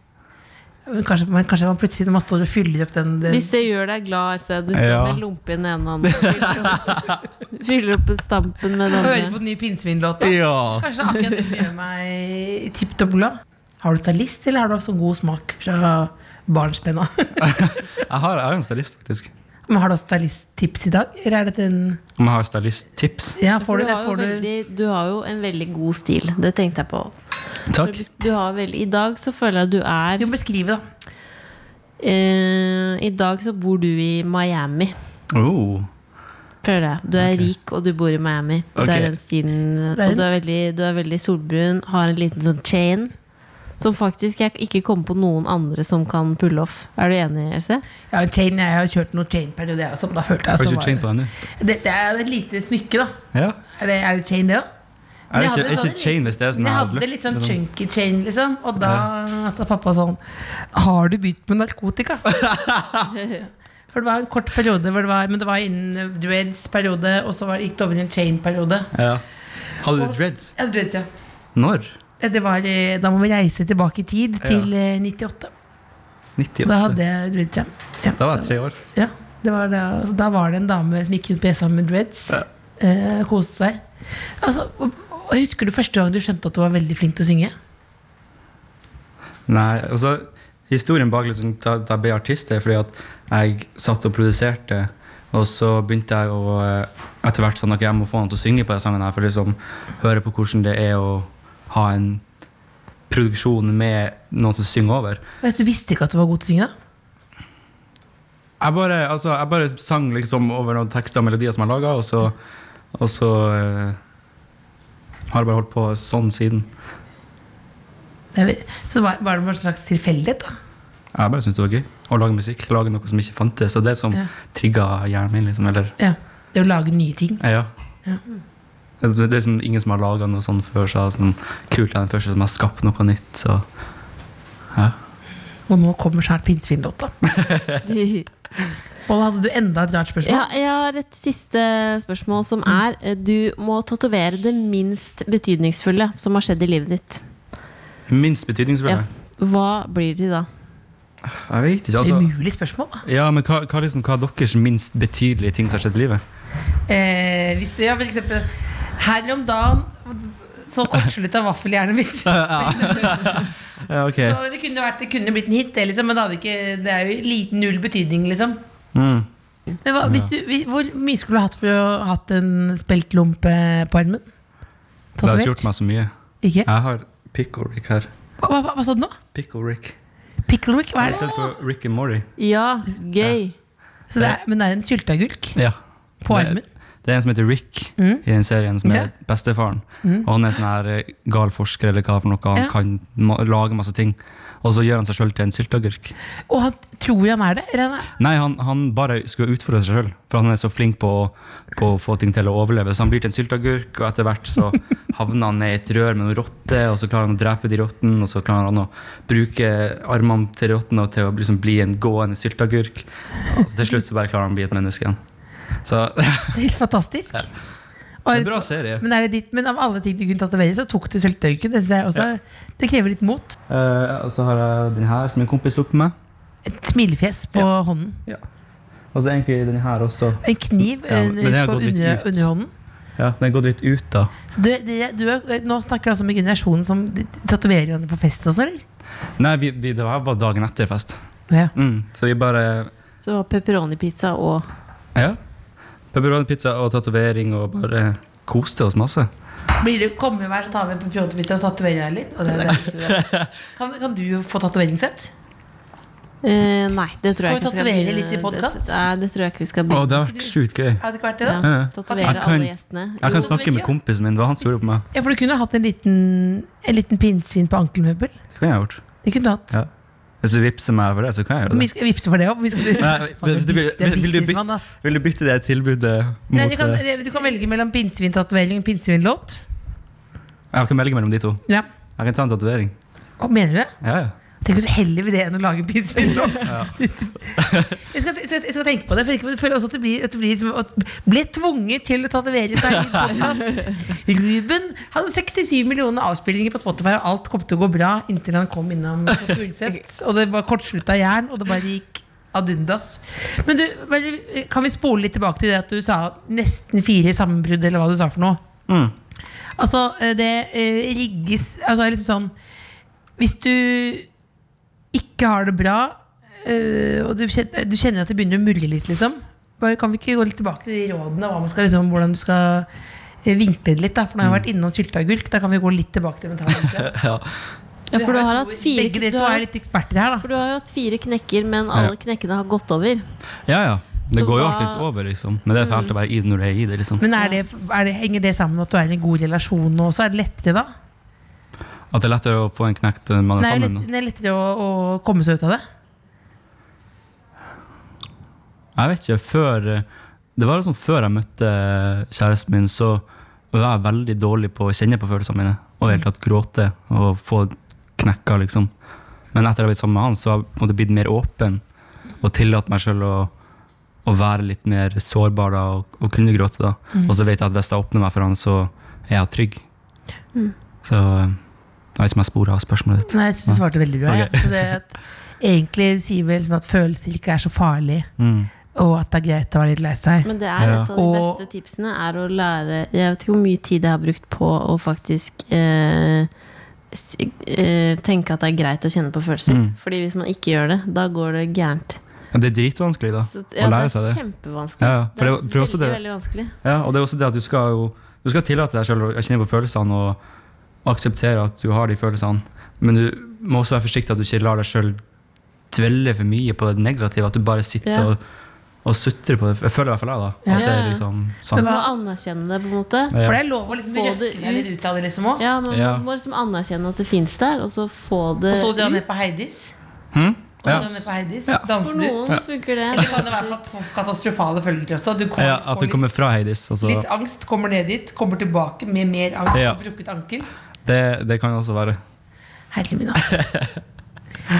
Speaker 4: Men Kanskje, men kanskje man plutselig når man står og fyller opp den, den
Speaker 3: Hvis det gjør deg glad, så du står
Speaker 5: Ja.
Speaker 3: med en lompe i den ene
Speaker 5: <laughs>
Speaker 3: hånden og fyller opp- fyller opp stampen med den
Speaker 4: Hører på
Speaker 3: andre.
Speaker 4: den nye pinnsvinlåta.
Speaker 5: Ja.
Speaker 4: Kanskje det er akkurat det som gjør meg tipp topp glad. Har du stylist, eller har du hatt sånn god smak fra
Speaker 5: <laughs>
Speaker 4: Barnspenna.
Speaker 5: Jeg har, jeg har en stylist, faktisk.
Speaker 4: Men har du også stylisttips i dag? Eller er dette en
Speaker 5: Om jeg har stylisttips?
Speaker 4: Ja,
Speaker 3: For
Speaker 4: får du,
Speaker 3: du, har jo
Speaker 4: får du
Speaker 3: veldig, du har jo en veldig god stil. Det tenkte jeg på.
Speaker 5: Takk.
Speaker 3: Du har veldig, I dag så føler jeg at du er
Speaker 4: Jo, beskrive, da.
Speaker 3: eh, I dag så bor du i Miami.
Speaker 5: Oh.
Speaker 3: Føler jeg. Du er rik, og du bor i Miami.
Speaker 5: Ok.
Speaker 3: Det er den stilen.
Speaker 4: Det er
Speaker 3: Og du er, veldig, du er veldig solbrun, har en liten sånn chain. Som faktisk jeg ikke kommer på noen andre som kan pulle off. Er du enig, Else?
Speaker 4: Ja, en chain, jeg har kjørt noen chain-periode, jeg også. men Da følte jeg
Speaker 5: Har
Speaker 4: så
Speaker 5: ikke
Speaker 4: var-
Speaker 5: du chain på deg nå?
Speaker 4: Det, det er jo et lite smykke, da.
Speaker 5: Ja.
Speaker 4: Er det, er det chain, det òg?
Speaker 5: Er det ikke, er ikke chain hvis det er sånn
Speaker 4: Jeg
Speaker 5: her
Speaker 4: hadde
Speaker 5: bløtt?
Speaker 4: litt sånn chunky chain, liksom. Og da sa pappa sånn Har du begynt med
Speaker 5: <laughs>
Speaker 4: narkotika? For det var en kort periode, hvor det var, men det var innen dreads-periode, og så var det, gikk det over i en chain-periode.
Speaker 5: Ja. Hadde du dreads?
Speaker 4: Ja, dreads, ja.
Speaker 5: Når?
Speaker 4: Det var, eh, da må vi reise tilbake i tid, til eh, 98.
Speaker 5: 98.
Speaker 4: Da hadde jeg dreads, ja. ja.
Speaker 5: Da var jeg tre år.
Speaker 4: Ja, det var da, altså, da var det en dame som gikk rundt på ESA med dreads. Eh, koste seg. Altså, og, og husker du første gang du skjønte at du var veldig flink til å synge?
Speaker 5: Nei, altså Historien bak liksom, da da jeg ble artist, er fordi at jeg satt og produserte. Og så begynte jeg å eh, etter hvert sånn, ok, jeg må få noen til å synge på den sangen. her, For liksom høre på hvordan det er å ha en produksjon med noen som synger over.
Speaker 4: Hvis du visste ikke at du var god til å synge, da?
Speaker 5: Jeg bare, altså, jeg bare sang liksom over noen tekster og melodier som jeg laga, og så, og så eh, har jeg bare holdt på sånn siden.
Speaker 4: Jeg vet- Så det var, var det bare en slags tilfeldighet, da?
Speaker 5: Jeg bare syntes det var gøy å lage musikk. Lage noe som ikke fantes. Og det som
Speaker 4: Ja.
Speaker 5: trigga hjernen min. liksom, eller...
Speaker 4: Ja. Det å lage nye ting.
Speaker 5: Ja. Det, det er liksom ingen som har laga noe sånn før, så jeg er sånn, kult jeg er den første som har skapt noe nytt. Så. Ja.
Speaker 4: Og nå kommer snart <laughs> pinnsvinlåta. Og hadde du enda et rart spørsmål?
Speaker 3: Ja, jeg har et siste spørsmål, som er eh, Du må tatovere det minst betydningsfulle som har skjedd i livet ditt.
Speaker 5: Minst betydningsfulle?
Speaker 3: Ja. Hva blir det da?
Speaker 5: Jeg vet ikke. altså.
Speaker 4: Umulig spørsmål, da.
Speaker 5: Ja, men hva, hva, liksom, hva er deres minst betydelige ting som har skjedd i livet?
Speaker 4: Eh, hvis du, ja, for eksempel Her om dagen så kortslutta vaffelhjernen mitt.
Speaker 5: Ja, ok.
Speaker 4: Så det kunne, vært, det kunne blitt en hit, det, liksom, men det, hadde ikke, det er jo liten null betydning, liksom.
Speaker 5: Mm.
Speaker 4: Men hva, hvis du, hvis, hvor mye skulle du hatt for å ha hatt en speltlompe på armen?
Speaker 5: Det har ikke gjort
Speaker 4: Tatovert?
Speaker 5: meg så mye.
Speaker 4: Ikke?
Speaker 5: Jeg har Pickle Rick her.
Speaker 4: Hva, hva, hva sa du nå?
Speaker 5: Pickle Rick.
Speaker 4: Pickle Rick? Hva
Speaker 5: Har
Speaker 4: er
Speaker 5: du
Speaker 4: det?
Speaker 5: sett på Rick and Morty?
Speaker 3: Ja, gøy!
Speaker 4: Så det er, men det er en sylteagurk
Speaker 5: Ja.
Speaker 4: på armen?
Speaker 5: Det er en som heter Rick i den serien, som er
Speaker 4: Mm. Ja. Mm.
Speaker 5: bestefaren. Og han er sånn her eh, gal forsker eller hva for noe. Han
Speaker 4: Ja.
Speaker 5: kan ma lage masse ting. Og så gjør han seg sjøl til en sylteagurk.
Speaker 4: Og han tror han er det? Eller han er,
Speaker 5: Nei, han, han bare skulle utfordre seg sjøl, for han er så flink på å, på å få ting til å overleve. Så han blir til en sylteagurk, og etter hvert så havner han i et rør med noen rotter, og så klarer han å drepe de rottene, og så klarer han å bruke armene til rottene og til å liksom bli en gående sylteagurk. Og så til slutt så bare klarer han å bli et menneske igjen. Så <laughs> det er
Speaker 4: det er helt fantastisk.
Speaker 5: en bra serie.
Speaker 4: men, er det ditt, men av alle ting du kunne tatovere, så tok du sylteagurken. Det, synes jeg også- det krever litt mot.
Speaker 5: Eh, og så har jeg den her som en kompis lukter meg.
Speaker 4: Et smilefjes på hånden.
Speaker 5: Og så egentlig den her også.
Speaker 4: En kniv
Speaker 5: Ja, men
Speaker 4: under,
Speaker 5: det har
Speaker 4: på
Speaker 5: gått litt
Speaker 4: under,
Speaker 5: ut.
Speaker 4: underhånden.
Speaker 5: Ja, den har gått litt ut, da.
Speaker 4: Så du, det- du, er- nå snakker vi altså om en generasjon som de- de tatoverer hverandre på fest og sånn, eller?
Speaker 5: Nei, vi, vi, det her var dagen etter fest.
Speaker 4: Ja.
Speaker 5: Mm, så vi bare
Speaker 3: Så pepperoni-pizza og
Speaker 5: Ja. Pepperoni-pizza og tatovering og bare koste oss masse.
Speaker 4: Blir det kom jo her, så tar vi en pepperoni-pizza og så tatoverer jeg litt. Og det, det.
Speaker 5: <laughs>
Speaker 4: Kan, kan du få tatoveringssett?
Speaker 3: eh, Nei, det tror jeg
Speaker 4: Kan vi
Speaker 3: ikke skal
Speaker 4: tatovere
Speaker 3: begynne-
Speaker 4: litt i podcast?
Speaker 3: Det, nei, det tror jeg ikke vi skal
Speaker 5: Å,
Speaker 3: begynne
Speaker 5: det har vært sjukt gøy.
Speaker 4: Hadde det ikke vært det, da?
Speaker 3: ja.
Speaker 5: Jeg
Speaker 3: Tatovere
Speaker 5: kan-
Speaker 3: alle gjestene.
Speaker 5: Jeg
Speaker 3: Jo,
Speaker 5: kan snakke med kompisen min. Hva han gjorde på meg.
Speaker 4: Ja, for du kunne hatt en liten, en liten pinnsvin på ankelmøbel.
Speaker 5: Det kan jeg ha gjort.
Speaker 4: Det kunne du hatt.
Speaker 5: Ja. Hvis du vippser meg for det, så kan jeg gjøre
Speaker 4: Hvor mye
Speaker 5: det.
Speaker 4: skal jeg vippse for det opp? Hvis du,
Speaker 5: Nei,
Speaker 4: <laughs> Faen,
Speaker 5: hvis
Speaker 4: det
Speaker 5: du vil-
Speaker 4: er bis- det er
Speaker 5: vil- vil du bytte-
Speaker 4: businessmann, ass.
Speaker 5: Vil du bytte det tilbudet mot
Speaker 4: Nei, du, kan,
Speaker 5: eh,
Speaker 4: du kan velge mellom pinnsvintatovering og pinnsvinlåt.
Speaker 5: Jeg kan velge mellom de to.
Speaker 4: Ja.
Speaker 5: Jeg kan ta en tatovering.
Speaker 4: Hva mener du det?
Speaker 5: Ja, ja.
Speaker 4: Tenk at du heller vil det enn å lage pinnsvinlåt. <laughs> jeg, skal- jeg, skal- jeg skal tenke på det. For jeg føler også at det blir, at det blir som at ble tvunget til å tatovere seg i en podcast. Ruben hadde 67 millioner avspillinger på Spotify, og alt kom til å gå bra inntil han kom innom på Fugleseth. Og det var kortslutta jern, og det bare gikk ad undas. Men du, bare- kan vi spole litt tilbake til det at du sa nesten fire sammenbrudd, eller hva du sa for noe?
Speaker 5: Mm.
Speaker 4: Altså, eh, det eh, rigges Altså, liksom sånn Hvis du ikke har det bra øh, og du kjenner, du kjenner at det begynner å murre litt, liksom. Bare, kan vi ikke gå litt tilbake til de rådene hva man skal, liksom, hvordan du skal eh, vinkle det litt? da For nå har jeg vært innom sylteagurk. Da kan vi gå litt tilbake til
Speaker 3: <laughs>
Speaker 4: mentalhelse.
Speaker 5: Ja.
Speaker 3: Ja, for du har hatt
Speaker 4: to-
Speaker 3: fire
Speaker 4: Begge dere
Speaker 3: du
Speaker 4: to
Speaker 3: har,
Speaker 4: er litt eksperter her, da.
Speaker 3: For du har jo hatt fire knekker, men alle
Speaker 5: Ja.
Speaker 3: knekkene har gått over.
Speaker 5: ja, ja. Det
Speaker 3: Så
Speaker 5: går jo
Speaker 3: hva-
Speaker 5: alltids over, liksom. Men det er fælt å være i det når du er i det, liksom.
Speaker 4: Men er det, er det, henger det sammen med at du er i en god relasjon nå også? Er det lettere da?
Speaker 5: At det er lettere å få en knekt når man er
Speaker 4: Nei, det er
Speaker 5: sammen.
Speaker 4: lett- det er lettere å, å komme seg ut av det?
Speaker 5: Jeg vet ikke, før eh, Det var liksom før jeg møtte kjæresten min, så var jeg veldig dårlig på å kjenne på følelsene mine. Og helt tatt gråte og få knekka, liksom. Men etter jeg har blitt sammen med han, så har jeg på en måte blitt mer åpen og tillatt meg sjøl å, å være litt mer sårbar da, og, og kunne gråte. da. Og så vet jeg at hvis jeg åpner meg for han, så er jeg trygg. Så eh, jeg vet ikke om jeg sporer av spørsmålet ditt.
Speaker 4: Nei, jeg synes du svarte veldig bra. ja. Så det at, egentlig sier vi liksom at følelser ikke er så farlig, og at det er greit å være litt lei seg.
Speaker 3: Men det er
Speaker 5: Ja.
Speaker 3: et av de
Speaker 4: Og-
Speaker 3: beste tipsene er å lære Jeg vet ikke hvor mye tid jeg har brukt på å faktisk eh, s- eh, tenke at det er greit å kjenne på følelser.
Speaker 5: Mm.
Speaker 3: Fordi hvis man ikke gjør det, da går det gærent.
Speaker 5: Ja, det er dritvanskelig, da.
Speaker 3: Så, ja,
Speaker 5: å
Speaker 3: det
Speaker 5: lære
Speaker 3: er
Speaker 5: seg det.
Speaker 3: kjempevanskelig.
Speaker 5: Ja, ja. For
Speaker 3: det
Speaker 5: det
Speaker 3: er
Speaker 5: var- for også
Speaker 3: veldig,
Speaker 5: det-
Speaker 3: veldig vanskelig.
Speaker 5: Ja, og det er også det at du skal jo Du skal tillate deg selv å kjenne på følelsene og akseptere at du har de følelsene, men du må også være forsiktig at du ikke lar deg selv dvelle for mye på det negative, at du bare sitter
Speaker 3: Ja.
Speaker 5: og, og sutrer på det. Jeg føler i hvert fall jeg, da. At det er
Speaker 3: Ja.
Speaker 5: liksom
Speaker 3: Du
Speaker 5: sant.
Speaker 3: må anerkjenne det, på en måte.
Speaker 5: Ja.
Speaker 4: For det er lov å liksom
Speaker 3: Få
Speaker 4: røske
Speaker 3: det
Speaker 4: seg litt ut av det, liksom òg.
Speaker 3: Ja, man
Speaker 5: Ja.
Speaker 3: må- må liksom anerkjenne at det fins der, og så få det
Speaker 4: Og så dra
Speaker 3: ut.
Speaker 4: ned på Heidis.
Speaker 5: Hm?
Speaker 4: Og
Speaker 5: Ja.
Speaker 4: så dra ned på Heidis
Speaker 5: Ja.
Speaker 3: For
Speaker 4: Danser du?
Speaker 3: noen så funker det.
Speaker 4: Eller kan det være kat- katastrofale følger til også? Du kommer,
Speaker 5: ja, at
Speaker 4: får
Speaker 5: det kommer fra Heidis. Altså,
Speaker 4: litt, litt angst, kommer ned dit, kommer tilbake med mer angst
Speaker 5: Ja.
Speaker 4: og brukket ankel.
Speaker 5: det, det kan også være
Speaker 4: Herlig min hatt.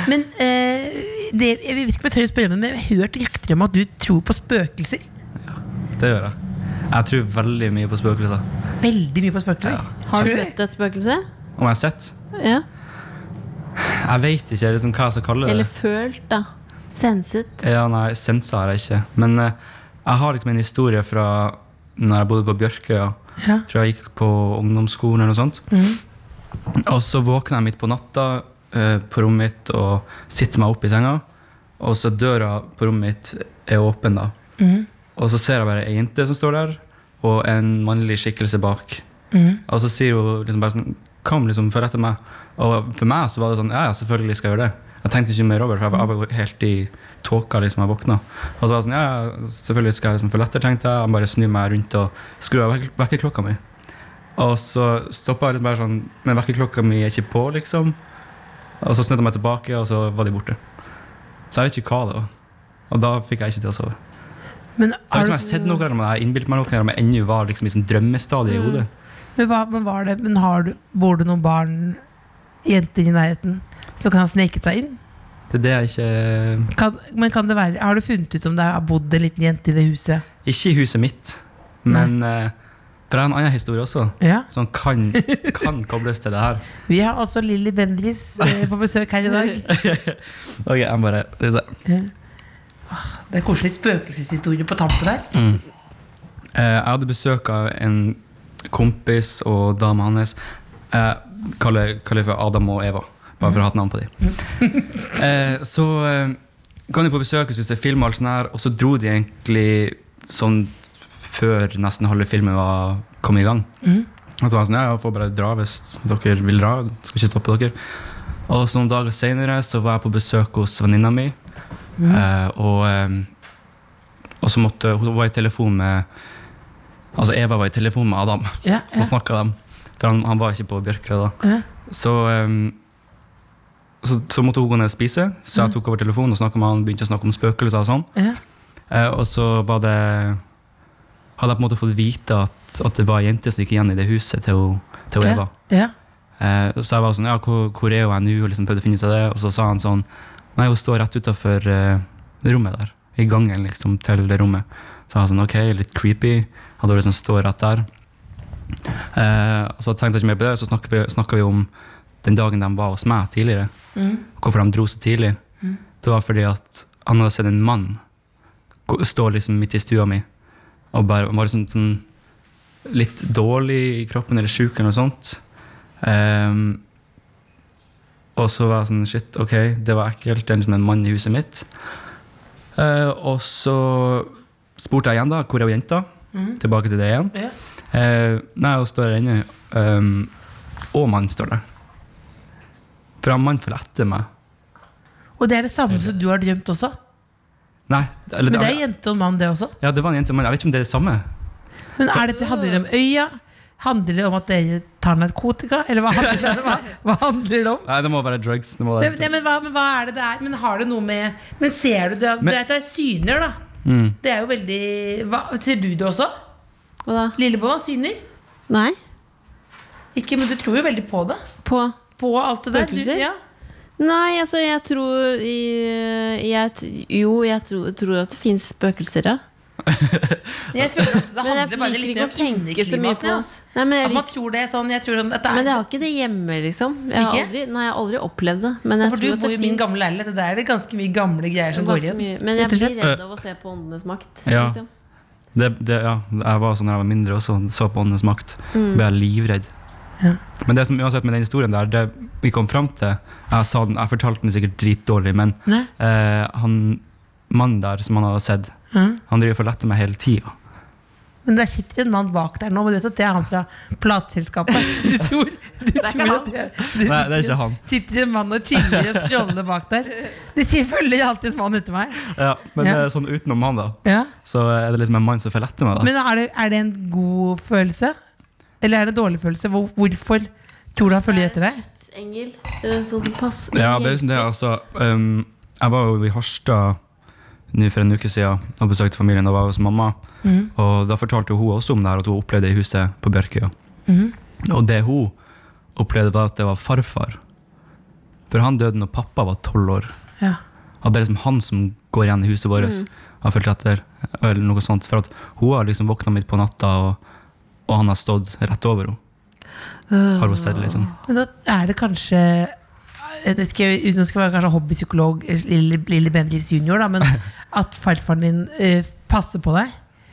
Speaker 4: Men eh, det, jeg vet ikke om jeg tør å spørre, men jeg har hørt rykter om at du tror på spøkelser.
Speaker 5: Det gjør jeg. Jeg tror veldig mye på spøkelser.
Speaker 4: Veldig mye på spøkelser.
Speaker 3: Har du
Speaker 4: Tror
Speaker 3: møtt et spøkelse?
Speaker 5: Om jeg har sett?
Speaker 3: Ja.
Speaker 5: Jeg vet ikke liksom, hva jeg skal kalle det.
Speaker 3: Eller følt, da. Senset.
Speaker 5: Ja, nei, sensa har jeg ikke. Men eh, jeg har liksom en historie fra når jeg bodde på Bjørkøya.
Speaker 4: Ja.
Speaker 5: Tror jeg gikk på ungdomsskolen eller noe sånt. Og så våkner jeg midt på natta eh, på rommet mitt og sitter meg opp i senga. Og så døra på rommet mitt er åpen, da. Og så ser jeg bare ei jente som står der, og en mannlig skikkelse bak. Og så sier hun liksom bare sånn Kom, liksom, følg etter meg. Og for meg så var det sånn Ja, ja, selvfølgelig skal jeg gjøre det. Jeg tenkte ikke mer over det, for jeg var- jeg var helt i tåka liksom jeg våkna. Og så var det sånn Ja, ja, selvfølgelig skal jeg liksom følge etter, tenkte jeg. Jeg bare snur meg rundt og skrur av vek- vekkerklokka mi. Og så stoppa jeg liksom bare sånn Men vekkerklokka mi er ikke på, liksom. Og så snudde jeg meg tilbake, og så var de borte. Så jeg vet ikke hva det var. Og da fikk jeg ikke til å sove. Så
Speaker 4: Men,
Speaker 5: jeg vet ikke om
Speaker 4: har
Speaker 5: jeg har
Speaker 4: du,
Speaker 5: sett noe, eller om jeg har innbilt meg noe, eller om jeg ennå var liksom i sånn drømmestadiet i hodet.
Speaker 4: men, hva, men, var det, men har du, bor det noen barn, jenter i nærheten, som kan ha sneket seg inn?
Speaker 5: Det er det jeg ikke
Speaker 4: Kan, men kan det være, har du funnet ut om det har bodd en liten jente i det huset?
Speaker 5: Ikke i huset mitt, men eh, for jeg har en annen historie også,
Speaker 4: Ja.
Speaker 5: som <laughs> kan, kan kobles til det her.
Speaker 4: Vi har altså Lilly Bendriss eh, på besøk her i <laughs> dag.
Speaker 5: Ok, jeg bare, skal vi se.
Speaker 4: Det er koselig spøkelseshistorie på tampen der.
Speaker 5: Eh, Jeg hadde besøk av en kompis og dama hans. Jeg kaller, kaller for Adam og Eva, bare for å ha et navn på dem. <laughs> Eh, så eh, kom de på besøk og spiste film, og alt sånt her, og så dro de egentlig sånn før nesten halve filmen var kom i gang. Og så var jeg sånn, ja, jeg får bare dra hvis dere vil dra. Skal ikke stoppe dere. Og så noen dager senere så var jeg på besøk hos venninna mi. eh, og, eh, og så måtte hun var i telefon med Altså Eva var i telefon med Adam,
Speaker 4: Ja,
Speaker 5: så snakka de. For han, han var ikke på Bjørkøya da.
Speaker 4: Ja.
Speaker 5: Så, eh, så, så måtte hun gå ned og spise, så jeg tok over telefonen og snakket med han, begynte å snakke om spøkelser og sånn.
Speaker 4: ja.
Speaker 5: Eh, og så var det Hadde jeg på en måte fått vite at, at det var ei jente som gikk igjen i det huset til, hun- til hun Eva.
Speaker 4: Ja.
Speaker 5: Eh, så jeg var sånn Ja, hvor, hvor er hun her nå? Og liksom prøvde å finne ut av det. Og så sa han sånn Nei, hun står rett utafor rommet der. I gangen, liksom, til det rommet. Så jeg var sånn Ok, litt creepy. At hun liksom står rett der. Eh, og så tenkte jeg ikke mer på det, så snakka vi, snakket vi om den dagen de var hos meg tidligere. Hvorfor de dro så tidlig. Det var fordi at han hadde sett en mann gå- stå liksom midt i stua mi og bare var liksom sånn litt dårlig i kroppen eller sjuk eller noe sånt. Ehm, Og så var jeg sånn Shit, ok, det var ekkelt. Det er liksom en mann i huset mitt. Eh, og så spurte jeg igjen, da. Hvor er hun jenta? Tilbake til det igjen.
Speaker 4: Ja.
Speaker 5: Eh, nei, hun står der inne. ehm, og mannen står der. For han mannen følger etter meg.
Speaker 4: Og det er det samme som du har drømt også?
Speaker 5: Nei, eller,
Speaker 4: Men det er jente og mann, det også.
Speaker 5: ja, det var en jente og mann. Jeg vet ikke om det er det samme.
Speaker 4: Men er dette, handler det om øya? Handler det om at dere tar narkotika? Eller hva handler det, hva, hva handler det om?
Speaker 5: Nei, det må være drugs. Det må
Speaker 4: Nei,
Speaker 5: være
Speaker 4: men- nei, men, hva, men hva er det det er? Men har det noe med Men Mm. ser du det?
Speaker 5: Men-
Speaker 4: det, er- det er syner, da. Det er jo veldig hva, Ser du det også?
Speaker 3: Hva da?
Speaker 4: Lillebolla syner?
Speaker 3: Nei?
Speaker 4: Ikke, men du tror jo veldig på det.
Speaker 3: På
Speaker 4: På alt det der. Du,
Speaker 3: Spøkelser?
Speaker 4: ja.
Speaker 3: Nei, altså, jeg tror i- eh, jeg, t- Jo, jeg tror, tror at det fins spøkelser, ja.
Speaker 4: Jeg føler ofte det
Speaker 3: Men jeg
Speaker 4: handler bare
Speaker 3: liker
Speaker 4: litt
Speaker 3: ikke å
Speaker 4: om
Speaker 3: tenke så mye
Speaker 4: inneklimasen.
Speaker 3: på
Speaker 4: ja, ass.
Speaker 3: Nei, men, jeg
Speaker 4: At man
Speaker 3: liker,
Speaker 4: tror det er sånn jeg tror at det er,
Speaker 3: men jeg har ikke det hjemme, liksom. Jeg har
Speaker 4: Ikke?
Speaker 3: aldri, nei, jeg har aldri opplevd det. Men jeg
Speaker 4: For du
Speaker 3: tror at
Speaker 4: bor
Speaker 3: det
Speaker 4: jo i min
Speaker 3: finnes
Speaker 4: gamle leilighet, og der er det ganske mye gamle greier som går
Speaker 3: ganske
Speaker 4: igjen.
Speaker 3: mye. Men jeg
Speaker 4: Rett og
Speaker 3: blir
Speaker 4: slett.
Speaker 3: redd av å se på Åndenes makt.
Speaker 5: Ja.
Speaker 3: Liksom.
Speaker 5: Det, det, ja, jeg var sånn da jeg var mindre også, så på Åndenes makt. Ble jeg livredd.
Speaker 4: Mm. Ja.
Speaker 5: Men det som uansett med den historien der, det vi kom fram til Jeg, sa den, jeg fortalte den sikkert dritdårlig, men
Speaker 4: Nei.
Speaker 5: eh, han mannen der som han hadde sett,
Speaker 4: Ja.
Speaker 5: han driver og forletter meg hele tida.
Speaker 4: Men det sitter en mann bak der nå, men du vet at det er han fra plateselskapet. <laughs> Du tror, du det tror at det, det
Speaker 5: Nei, det er ikke
Speaker 4: sitter,
Speaker 5: han.
Speaker 4: sitter en mann og chiller og scroller bak der. Det sier følger alltid en mann etter meg.
Speaker 5: Ja, men
Speaker 4: Ja.
Speaker 5: det er sånn utenom han, da,
Speaker 4: Ja.
Speaker 5: så er det liksom en mann som forletter meg. da
Speaker 4: Men er det, er det en god følelse? Eller er det en dårlig følelse? Hvor, hvorfor tror du han følger etter deg?
Speaker 3: Skytsengel. eh, Sånn som pass.
Speaker 5: Ja, det er liksom det, altså. Um, jeg var jo i Harstad nå for en uke siden og besøkte familien. Da var jeg hos mamma.
Speaker 4: Mhm.
Speaker 5: Og da fortalte jo hun også om det her, at hun opplevde det i huset på Bjørkøya.
Speaker 4: Mhm.
Speaker 5: Og det hun opplevde, var at det var farfar. For han døde når pappa var tolv år.
Speaker 4: Ja. Mhm.
Speaker 5: At det er liksom han som går igjen i huset vårt. Har fulgt etter, eller noe sånt. For at hun har liksom våkna midt på natta, og, og han har stått rett over henne. Har hun sett, liksom.
Speaker 4: Men da er det kanskje eh, det skal, jeg- Nå skal jeg være kanskje hobbypsykolog eh, Lille, lille Bendriss junior, da, men
Speaker 5: <laughs>
Speaker 4: at farfaren din eh, passer på deg.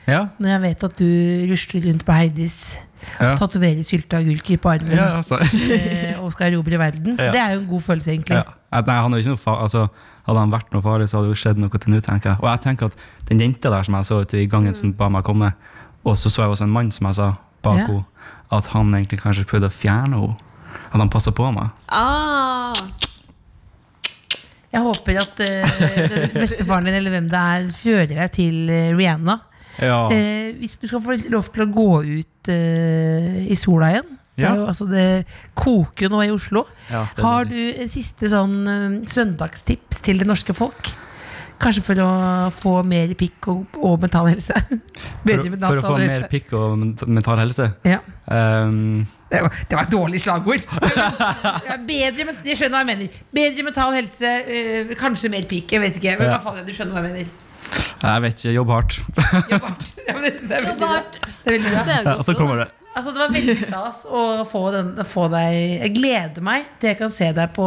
Speaker 5: Ja,
Speaker 4: Når jeg vet at du rusler rundt på Heidis
Speaker 5: ja.
Speaker 4: Tatoverer sylteagurker på armen
Speaker 5: ja altså.
Speaker 4: eh, og skal erobre verden. Så
Speaker 5: Ja.
Speaker 4: det er jo en god følelse, egentlig.
Speaker 5: Ja. At Nei, han er jo ikke noe fa altså, hadde han vært noe farlig, så hadde det jo skjedd noe til nå, tenker jeg. Og jeg tenker at den jenta der som jeg så ute i gangen, som ba meg komme, og så så jeg også en mann som jeg sa bak
Speaker 4: Ja.
Speaker 5: henne, at han egentlig kanskje prøvde å fjerne henne. At han passa på meg.
Speaker 3: Ah,
Speaker 4: Jeg håper at eh, den bestefaren din eller hvem det er, fører deg til eh, Rihanna.
Speaker 5: Ja.
Speaker 4: Eh, hvis du skal få lov til å gå ut eh, i sola igjen Det,
Speaker 5: Ja.
Speaker 4: er jo, altså, det koker jo nå i Oslo.
Speaker 5: Ja, det er
Speaker 4: Har du
Speaker 5: nydelig.
Speaker 4: en siste sånn eh, søndagstips til det norske folk? Kanskje for å få mer pikk og, og mental helse. <laughs>
Speaker 5: For,
Speaker 4: Bedre
Speaker 5: å-
Speaker 4: mental
Speaker 5: for å få
Speaker 4: helse.
Speaker 5: mer pikk og ment- mental helse.
Speaker 4: Ja.
Speaker 5: Ehm,
Speaker 4: Det var, det var et dårlig slagord. Ja, bedre, men- jeg skjønner hva jeg mener. Bedre mental helse, øh, kanskje mer pikk. Jeg vet ikke. Men
Speaker 5: Ja.
Speaker 4: hva faen, du skjønner hva jeg mener. <laughs>
Speaker 5: jeg vet ikke. Jobb hardt. <laughs>
Speaker 4: Jobb hardt. Ja, men det synes jeg er veldig bra.
Speaker 3: Jobb hardt.
Speaker 4: Det er veldig
Speaker 5: <laughs>
Speaker 4: bra.
Speaker 3: det er jo
Speaker 5: Og så
Speaker 3: godt.
Speaker 5: kommer det.
Speaker 4: Altså, det var veldig stas å få, den, å få deg Jeg gleder meg til jeg kan se deg på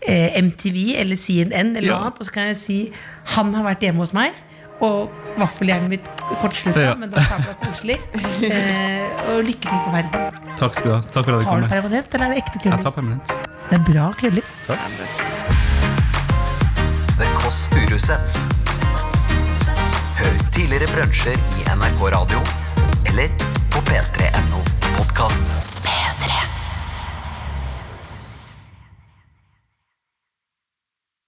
Speaker 4: eh, MTV eller CNN eller
Speaker 5: Ja.
Speaker 4: noe annet, og så kan jeg si 'han har vært hjemme hos meg'. Og vaffelhjernen mitt kortslutta,
Speaker 5: Ja.
Speaker 4: men det var sabla koselig.
Speaker 5: <laughs>
Speaker 4: Eh, og lykke til på verden.
Speaker 5: Takk skal du ha. Takk for at du
Speaker 4: Har
Speaker 5: kom.
Speaker 4: du permanent, eller er det ekte
Speaker 5: Jeg
Speaker 4: krøller?
Speaker 5: tar permanent.
Speaker 4: Det er bra krøller.
Speaker 2: The Kåss Furuseths. Hør tidligere brunsjer i NRK Radio eller på p3.no podkast.